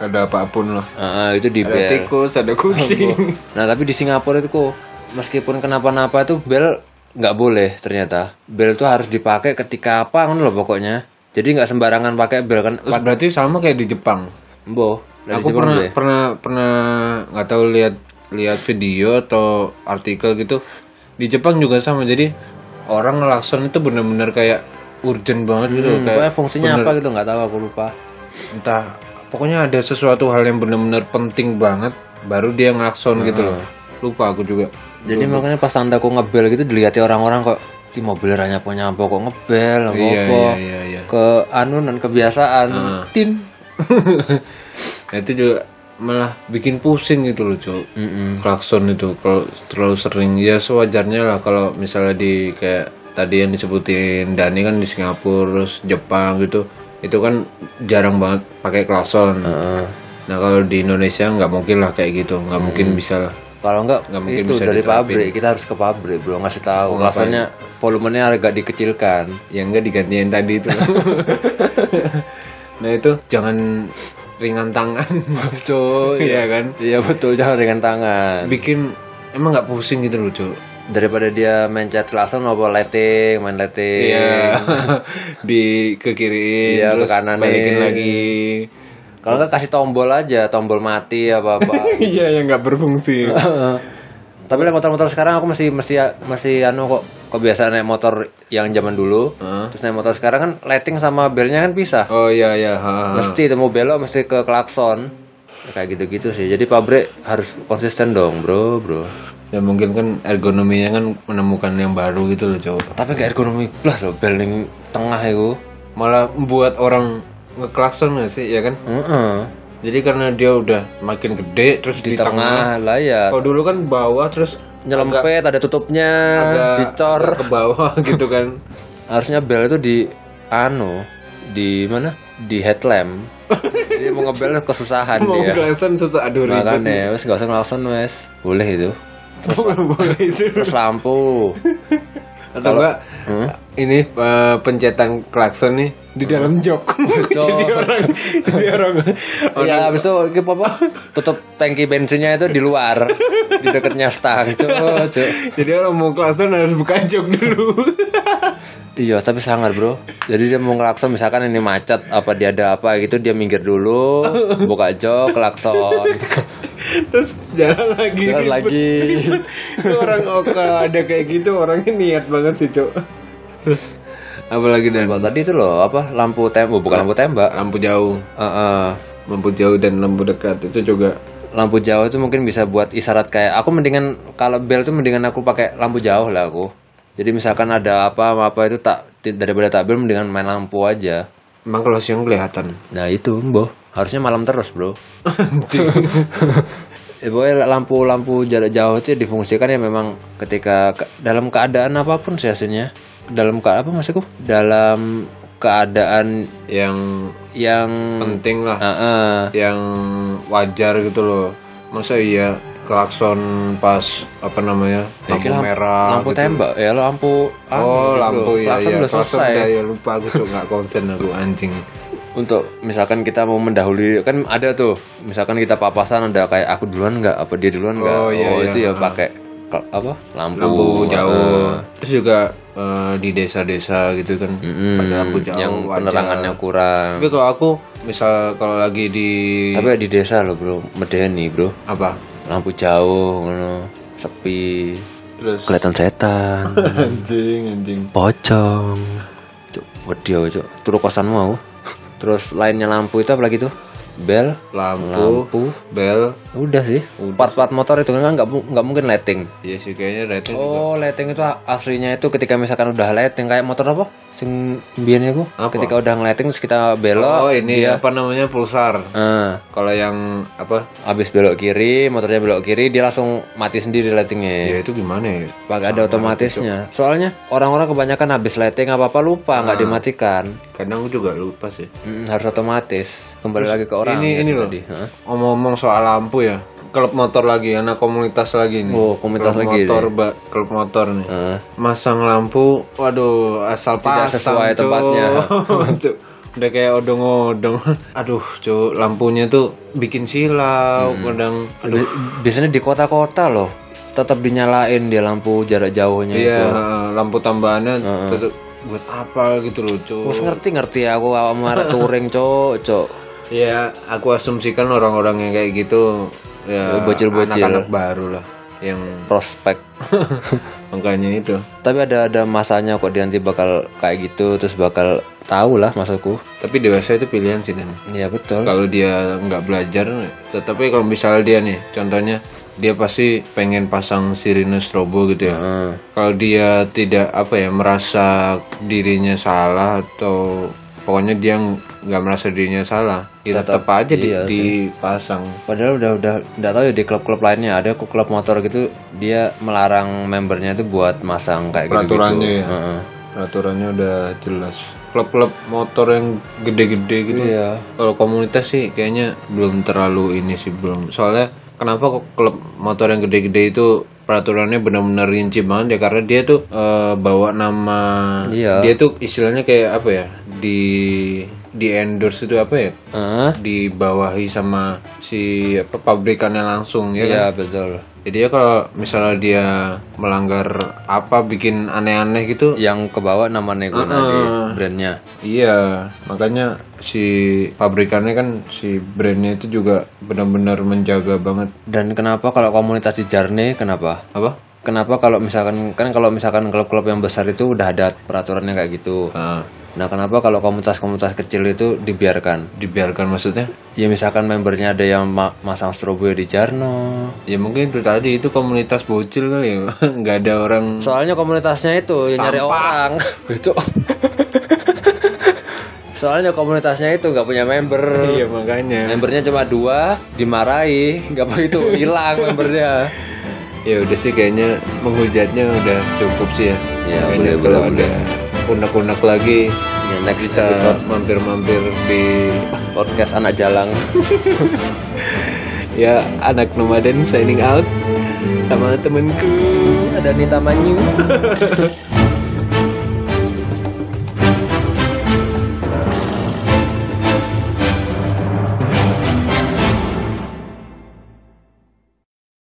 [SPEAKER 2] ada apapun Ya. loh
[SPEAKER 1] Ah, ah, itu di
[SPEAKER 2] ada
[SPEAKER 1] bel
[SPEAKER 2] tikus ada kucing
[SPEAKER 1] nah tapi di Singapura itu kok meskipun kenapa-napa tuh bel nggak boleh ternyata bel tuh harus dipakai ketika apa kan loh pokoknya jadi nggak sembarangan pakai bel kan
[SPEAKER 2] terus berarti sama kayak di Jepang
[SPEAKER 1] Bo, dari
[SPEAKER 2] aku
[SPEAKER 1] Jepang
[SPEAKER 2] pernah,
[SPEAKER 1] dulu ya?
[SPEAKER 2] pernah pernah nggak tahu lihat lihat video atau artikel gitu di Jepang juga sama jadi orang ngelakson itu bener-bener kayak urgent banget gitu loh, kayak
[SPEAKER 1] Hmm. Pokoknya fungsinya apa gitu nggak tahu aku lupa.
[SPEAKER 2] entah pokoknya ada sesuatu hal yang bener-bener penting banget baru dia ngelakson gitu loh lupa aku juga
[SPEAKER 1] Jadi makanya pas aku ngebel gitu dilihat orang-orang kok di mobil ranya punya apa kok ngebel apa apa
[SPEAKER 2] iya iya iya Ah.
[SPEAKER 1] ke anu dan kebiasaan tin.
[SPEAKER 2] Nah, itu juga malah bikin pusing gitu loh cok klakson itu kalau terlalu sering ya sewajarnya lah kalau misalnya di kayak tadi yang disebutin Dani kan di Singapura terus Jepang gitu itu kan jarang banget pakai klakson
[SPEAKER 1] Heeh.
[SPEAKER 2] nah kalau di Indonesia nggak mungkin lah kayak gitu nggak mungkin bisa lah
[SPEAKER 1] Kalau enggak,
[SPEAKER 2] Nggak mungkin
[SPEAKER 1] itu
[SPEAKER 2] bisa
[SPEAKER 1] dari
[SPEAKER 2] diterapin.
[SPEAKER 1] pabrik, kita harus ke pabrik bro, ngasih tahu. Rasanya volumenya agak dikecilkan.
[SPEAKER 2] yang enggak Ya, digantiin tadi itu nah itu jangan ringan tangan
[SPEAKER 1] Betul,
[SPEAKER 2] Iya kan?
[SPEAKER 1] Iya betul, jangan dengan tangan.
[SPEAKER 2] bikin emang nggak pusing gitu loh Cuk.
[SPEAKER 1] Daripada dia mencet langsung apa letting, main letting.
[SPEAKER 2] Iya. di ke kiri
[SPEAKER 1] Iya, ke
[SPEAKER 2] terus
[SPEAKER 1] kanan nih.
[SPEAKER 2] balikin lagi
[SPEAKER 1] Kalau enggak kasih tombol aja, tombol mati apa-apa.
[SPEAKER 2] iya yang nggak berfungsi
[SPEAKER 1] Tapi lah motor-motor sekarang aku masih masih masih anu kok kebiasaan naik motor yang zaman dulu. Terus naik motor sekarang kan lighting sama belnya kan pisah.
[SPEAKER 2] oh iya iya ha, ha.
[SPEAKER 1] Mesti itu mau belok mesti ke klakson. Ya, Kayak gitu-gitu sih. Jadi pabrik harus konsisten dong, Bro, Bro.
[SPEAKER 2] ya mungkin kan ergonominya kan menemukan yang baru gitu loh Cuk.
[SPEAKER 1] Tapi kayak ergonomi plus loh bel yang tengah itu.
[SPEAKER 2] malah membuat orang ngeklakson nggak sih ya kan
[SPEAKER 1] Heeh.
[SPEAKER 2] jadi karena dia udah makin gede terus di,
[SPEAKER 1] Di tengah lah ya.
[SPEAKER 2] kalau dulu kan bawah terus
[SPEAKER 1] Nyelempet ada tutupnya,
[SPEAKER 2] agak-
[SPEAKER 1] dicor.
[SPEAKER 2] agak ke bawah gitu kan
[SPEAKER 1] Harusnya bel itu di anu, di mana? Di headlamp. Jadi mau ngebel kesusahan
[SPEAKER 2] mau
[SPEAKER 1] dia.
[SPEAKER 2] klakson susah aduh ribet
[SPEAKER 1] Makanya, wes ya, gak usah ngelakson wes Boleh itu
[SPEAKER 2] Boleh itu
[SPEAKER 1] Terus lampu
[SPEAKER 2] atau enggak
[SPEAKER 1] Hmm?
[SPEAKER 2] ini eh, pencetan klakson nih di dalam jok jadi orang jadi orang Oh, orang
[SPEAKER 1] Ya abis itu gitu apa Tutup tangki bensinnya itu di luar Di deketnya stang Cuk, cuk.
[SPEAKER 2] jadi orang mau klakson harus buka jok dulu
[SPEAKER 1] Iya tapi sangar bro Jadi dia mau ngelakson misalkan ini macet Apa dia ada apa gitu Dia minggir dulu Buka jok Klakson
[SPEAKER 2] terus jalan lagi
[SPEAKER 1] Jalan
[SPEAKER 2] ribet,
[SPEAKER 1] lagi.
[SPEAKER 2] ribet. Itu orang oka ada kayak gitu orangnya niat banget sih cok terus apalagi dan
[SPEAKER 1] Wah, Tadi itu loh apa Lampu tembak Bukan lampu tembak
[SPEAKER 2] lampu jauh
[SPEAKER 1] Heeh.
[SPEAKER 2] lampu jauh dan lampu dekat itu juga
[SPEAKER 1] Lampu jauh itu mungkin bisa buat isyarat kayak aku mendingan kalau bel itu mendingan aku pakai lampu jauh lah aku. Jadi misalkan ada apa apa itu tak ti- daripada tak bel mendingan main lampu aja.
[SPEAKER 2] emang kalau siang kelihatan
[SPEAKER 1] Nah itu mbo harusnya malam terus bro. ya, pokoknya lampu-lampu jarak jauh itu difungsikan ya memang ketika ke- dalam keadaan apapun sih hasilnya. Dalam ke apa maksudku? Dalam keadaan
[SPEAKER 2] yang
[SPEAKER 1] yang
[SPEAKER 2] penting lah
[SPEAKER 1] Ah, ah.
[SPEAKER 2] yang wajar gitu loh masa iya klakson pas apa namanya lampu
[SPEAKER 1] Kayak lamp-
[SPEAKER 2] merah
[SPEAKER 1] Ya,
[SPEAKER 2] gitu.
[SPEAKER 1] lampu tembak ya lampu anu,
[SPEAKER 2] oh
[SPEAKER 1] gitu.
[SPEAKER 2] lampu ya
[SPEAKER 1] Klakson
[SPEAKER 2] ya
[SPEAKER 1] udah selesai
[SPEAKER 2] udah, ya lupa aku tuh nggak konsen aku anjing
[SPEAKER 1] untuk misalkan kita mau mendahului kan ada tuh misalkan kita papasan ada kayak aku duluan nggak apa dia duluan nggak oh, itu ya pakai kl- apa lampu,
[SPEAKER 2] iya,
[SPEAKER 1] eh,
[SPEAKER 2] lampu jauh terus juga eh, di desa-desa gitu kan ada lampu jauh
[SPEAKER 1] yang
[SPEAKER 2] wajar.
[SPEAKER 1] penerangannya kurang
[SPEAKER 2] tapi kalau aku misal kalau lagi di
[SPEAKER 1] tapi di desa loh bro medeni bro
[SPEAKER 2] apa
[SPEAKER 1] lampu jauh ngono sepi
[SPEAKER 2] terus
[SPEAKER 1] kelihatan setan
[SPEAKER 2] anjing anjing
[SPEAKER 1] pocong cuk waduh cuk turu kosan mau terus lainnya lampu itu apa lagi tuh bel
[SPEAKER 2] lampu, bel
[SPEAKER 1] udah sih part-part motor itu kan nggak mu- nggak mungkin lighting
[SPEAKER 2] ya sih kayaknya rating
[SPEAKER 1] oh lighting itu aslinya itu ketika misalkan udah lighting kayak motor apa sing biasanya aku ketika udah ngelighting terus kita belok
[SPEAKER 2] Oh ini apa namanya pulsar.
[SPEAKER 1] eh,
[SPEAKER 2] Kalau yang apa?
[SPEAKER 1] abis belok kiri motornya belok kiri dia langsung mati sendiri lightingnya
[SPEAKER 2] Ya itu gimana ya?
[SPEAKER 1] Pak ada otomatisnya. Soalnya orang-orang kebanyakan habis lighting apa apa lupa nggak
[SPEAKER 2] Ah.
[SPEAKER 1] dimatikan.
[SPEAKER 2] Kadang aku juga lupa sih.
[SPEAKER 1] Mm, harus otomatis kembali lagi ke orang ya,
[SPEAKER 2] ini ini loh. Omong-omong soal lampu ya. Klub motor lagi, anak komunitas lagi nih.
[SPEAKER 1] Oh, komunitas
[SPEAKER 2] klub
[SPEAKER 1] lagi
[SPEAKER 2] Motor, Mbak. klub motor nih.
[SPEAKER 1] Heeh.
[SPEAKER 2] Masang lampu, waduh, asal
[SPEAKER 1] Tidak
[SPEAKER 2] pasang,
[SPEAKER 1] sesuai
[SPEAKER 2] Cuk.
[SPEAKER 1] tempatnya.
[SPEAKER 2] Cuk. Udah kayak odong-odong. Aduh, cuk, lampunya tuh bikin silau,
[SPEAKER 1] Hmm.
[SPEAKER 2] kadang aduh.
[SPEAKER 1] Bi- biasanya di kota-kota loh tetap dinyalain dia lampu jarak jauhnya
[SPEAKER 2] Iya,
[SPEAKER 1] itu
[SPEAKER 2] lampu tambahannya
[SPEAKER 1] Ah,
[SPEAKER 2] tetep buat apa gitu loh, cuk.
[SPEAKER 1] Terus ngerti ngerti aku awam arek touring cok cok
[SPEAKER 2] Ya, aku asumsikan orang-orang yang kayak gitu ya
[SPEAKER 1] Bocil-bocil.
[SPEAKER 2] anak-anak baru lah yang
[SPEAKER 1] prospek
[SPEAKER 2] makanya itu.
[SPEAKER 1] tapi ada ada masanya kok dia nanti bakal kayak gitu terus bakal tahu lah maksudku
[SPEAKER 2] Tapi dewasa itu pilihan sih Dan.
[SPEAKER 1] iya betul
[SPEAKER 2] Kalau dia nggak belajar, tetapi kalau misalnya dia nih, contohnya dia pasti pengen pasang sirine strobo gitu ya.
[SPEAKER 1] Hmm.
[SPEAKER 2] Kalau dia tidak apa ya merasa dirinya salah atau pokoknya dia nggak merasa dirinya salah, ya tetap aja di- dipasang.
[SPEAKER 1] padahal udah udah nggak tahu ya di klub-klub lainnya ada kok klub motor gitu dia melarang membernya itu buat masang kayak gitu gitu
[SPEAKER 2] Peraturannya ya. Peraturannya udah jelas. klub-klub motor yang gede-gede gitu
[SPEAKER 1] Iya.
[SPEAKER 2] kalau komunitas sih kayaknya belum terlalu ini sih belum soalnya kenapa kok klub motor yang gede-gede itu peraturannya benar-benar rinci banget ya karena dia tuh eh, bawa nama
[SPEAKER 1] Iya.
[SPEAKER 2] dia tuh istilahnya kayak apa ya di di endorse itu apa ya
[SPEAKER 1] Heeh.
[SPEAKER 2] dibawahi sama si apa, pabrikannya langsung ya kan?
[SPEAKER 1] Iya betul.
[SPEAKER 2] Jadi ya kalau misalnya dia melanggar apa bikin aneh-aneh gitu,
[SPEAKER 1] Yang kebawa nama nego tadi brandnya.
[SPEAKER 2] iya makanya si pabrikannya kan si brandnya itu juga benar-benar menjaga banget
[SPEAKER 1] Dan kenapa kalau komunitas di Jarne kenapa?
[SPEAKER 2] apa?
[SPEAKER 1] Kenapa kalau misalkan kan kalau misalkan klub-klub yang besar itu udah ada peraturannya kayak gitu.
[SPEAKER 2] Ah,
[SPEAKER 1] Nah, kenapa kalau komunitas-komunitas kecil itu dibiarkan?
[SPEAKER 2] dibiarkan maksudnya?
[SPEAKER 1] Ya misalkan membernya ada yang ma- masang strobo di Jarno.
[SPEAKER 2] Ya mungkin itu tadi itu komunitas bocil kali ya, nggak ada orang
[SPEAKER 1] Soalnya komunitasnya itu yang nyari orang. Itu. Soalnya komunitasnya itu nggak punya member.
[SPEAKER 2] Iya makanya.
[SPEAKER 1] Membernya cuma dua, dimarahi, nggak apa itu hilang membernya.
[SPEAKER 2] Ya udah sih kayaknya menghujatnya udah cukup sih ya.
[SPEAKER 1] Ya,
[SPEAKER 2] Kayaknya
[SPEAKER 1] boleh,
[SPEAKER 2] kalau
[SPEAKER 1] boleh,
[SPEAKER 2] ada unek-unek lagi
[SPEAKER 1] Ya, next
[SPEAKER 2] bisa
[SPEAKER 1] episode
[SPEAKER 2] mampir-mampir di
[SPEAKER 1] podcast anak jalang.
[SPEAKER 2] ya anak nomaden signing out sama temenku
[SPEAKER 1] Ada Nita Manyu.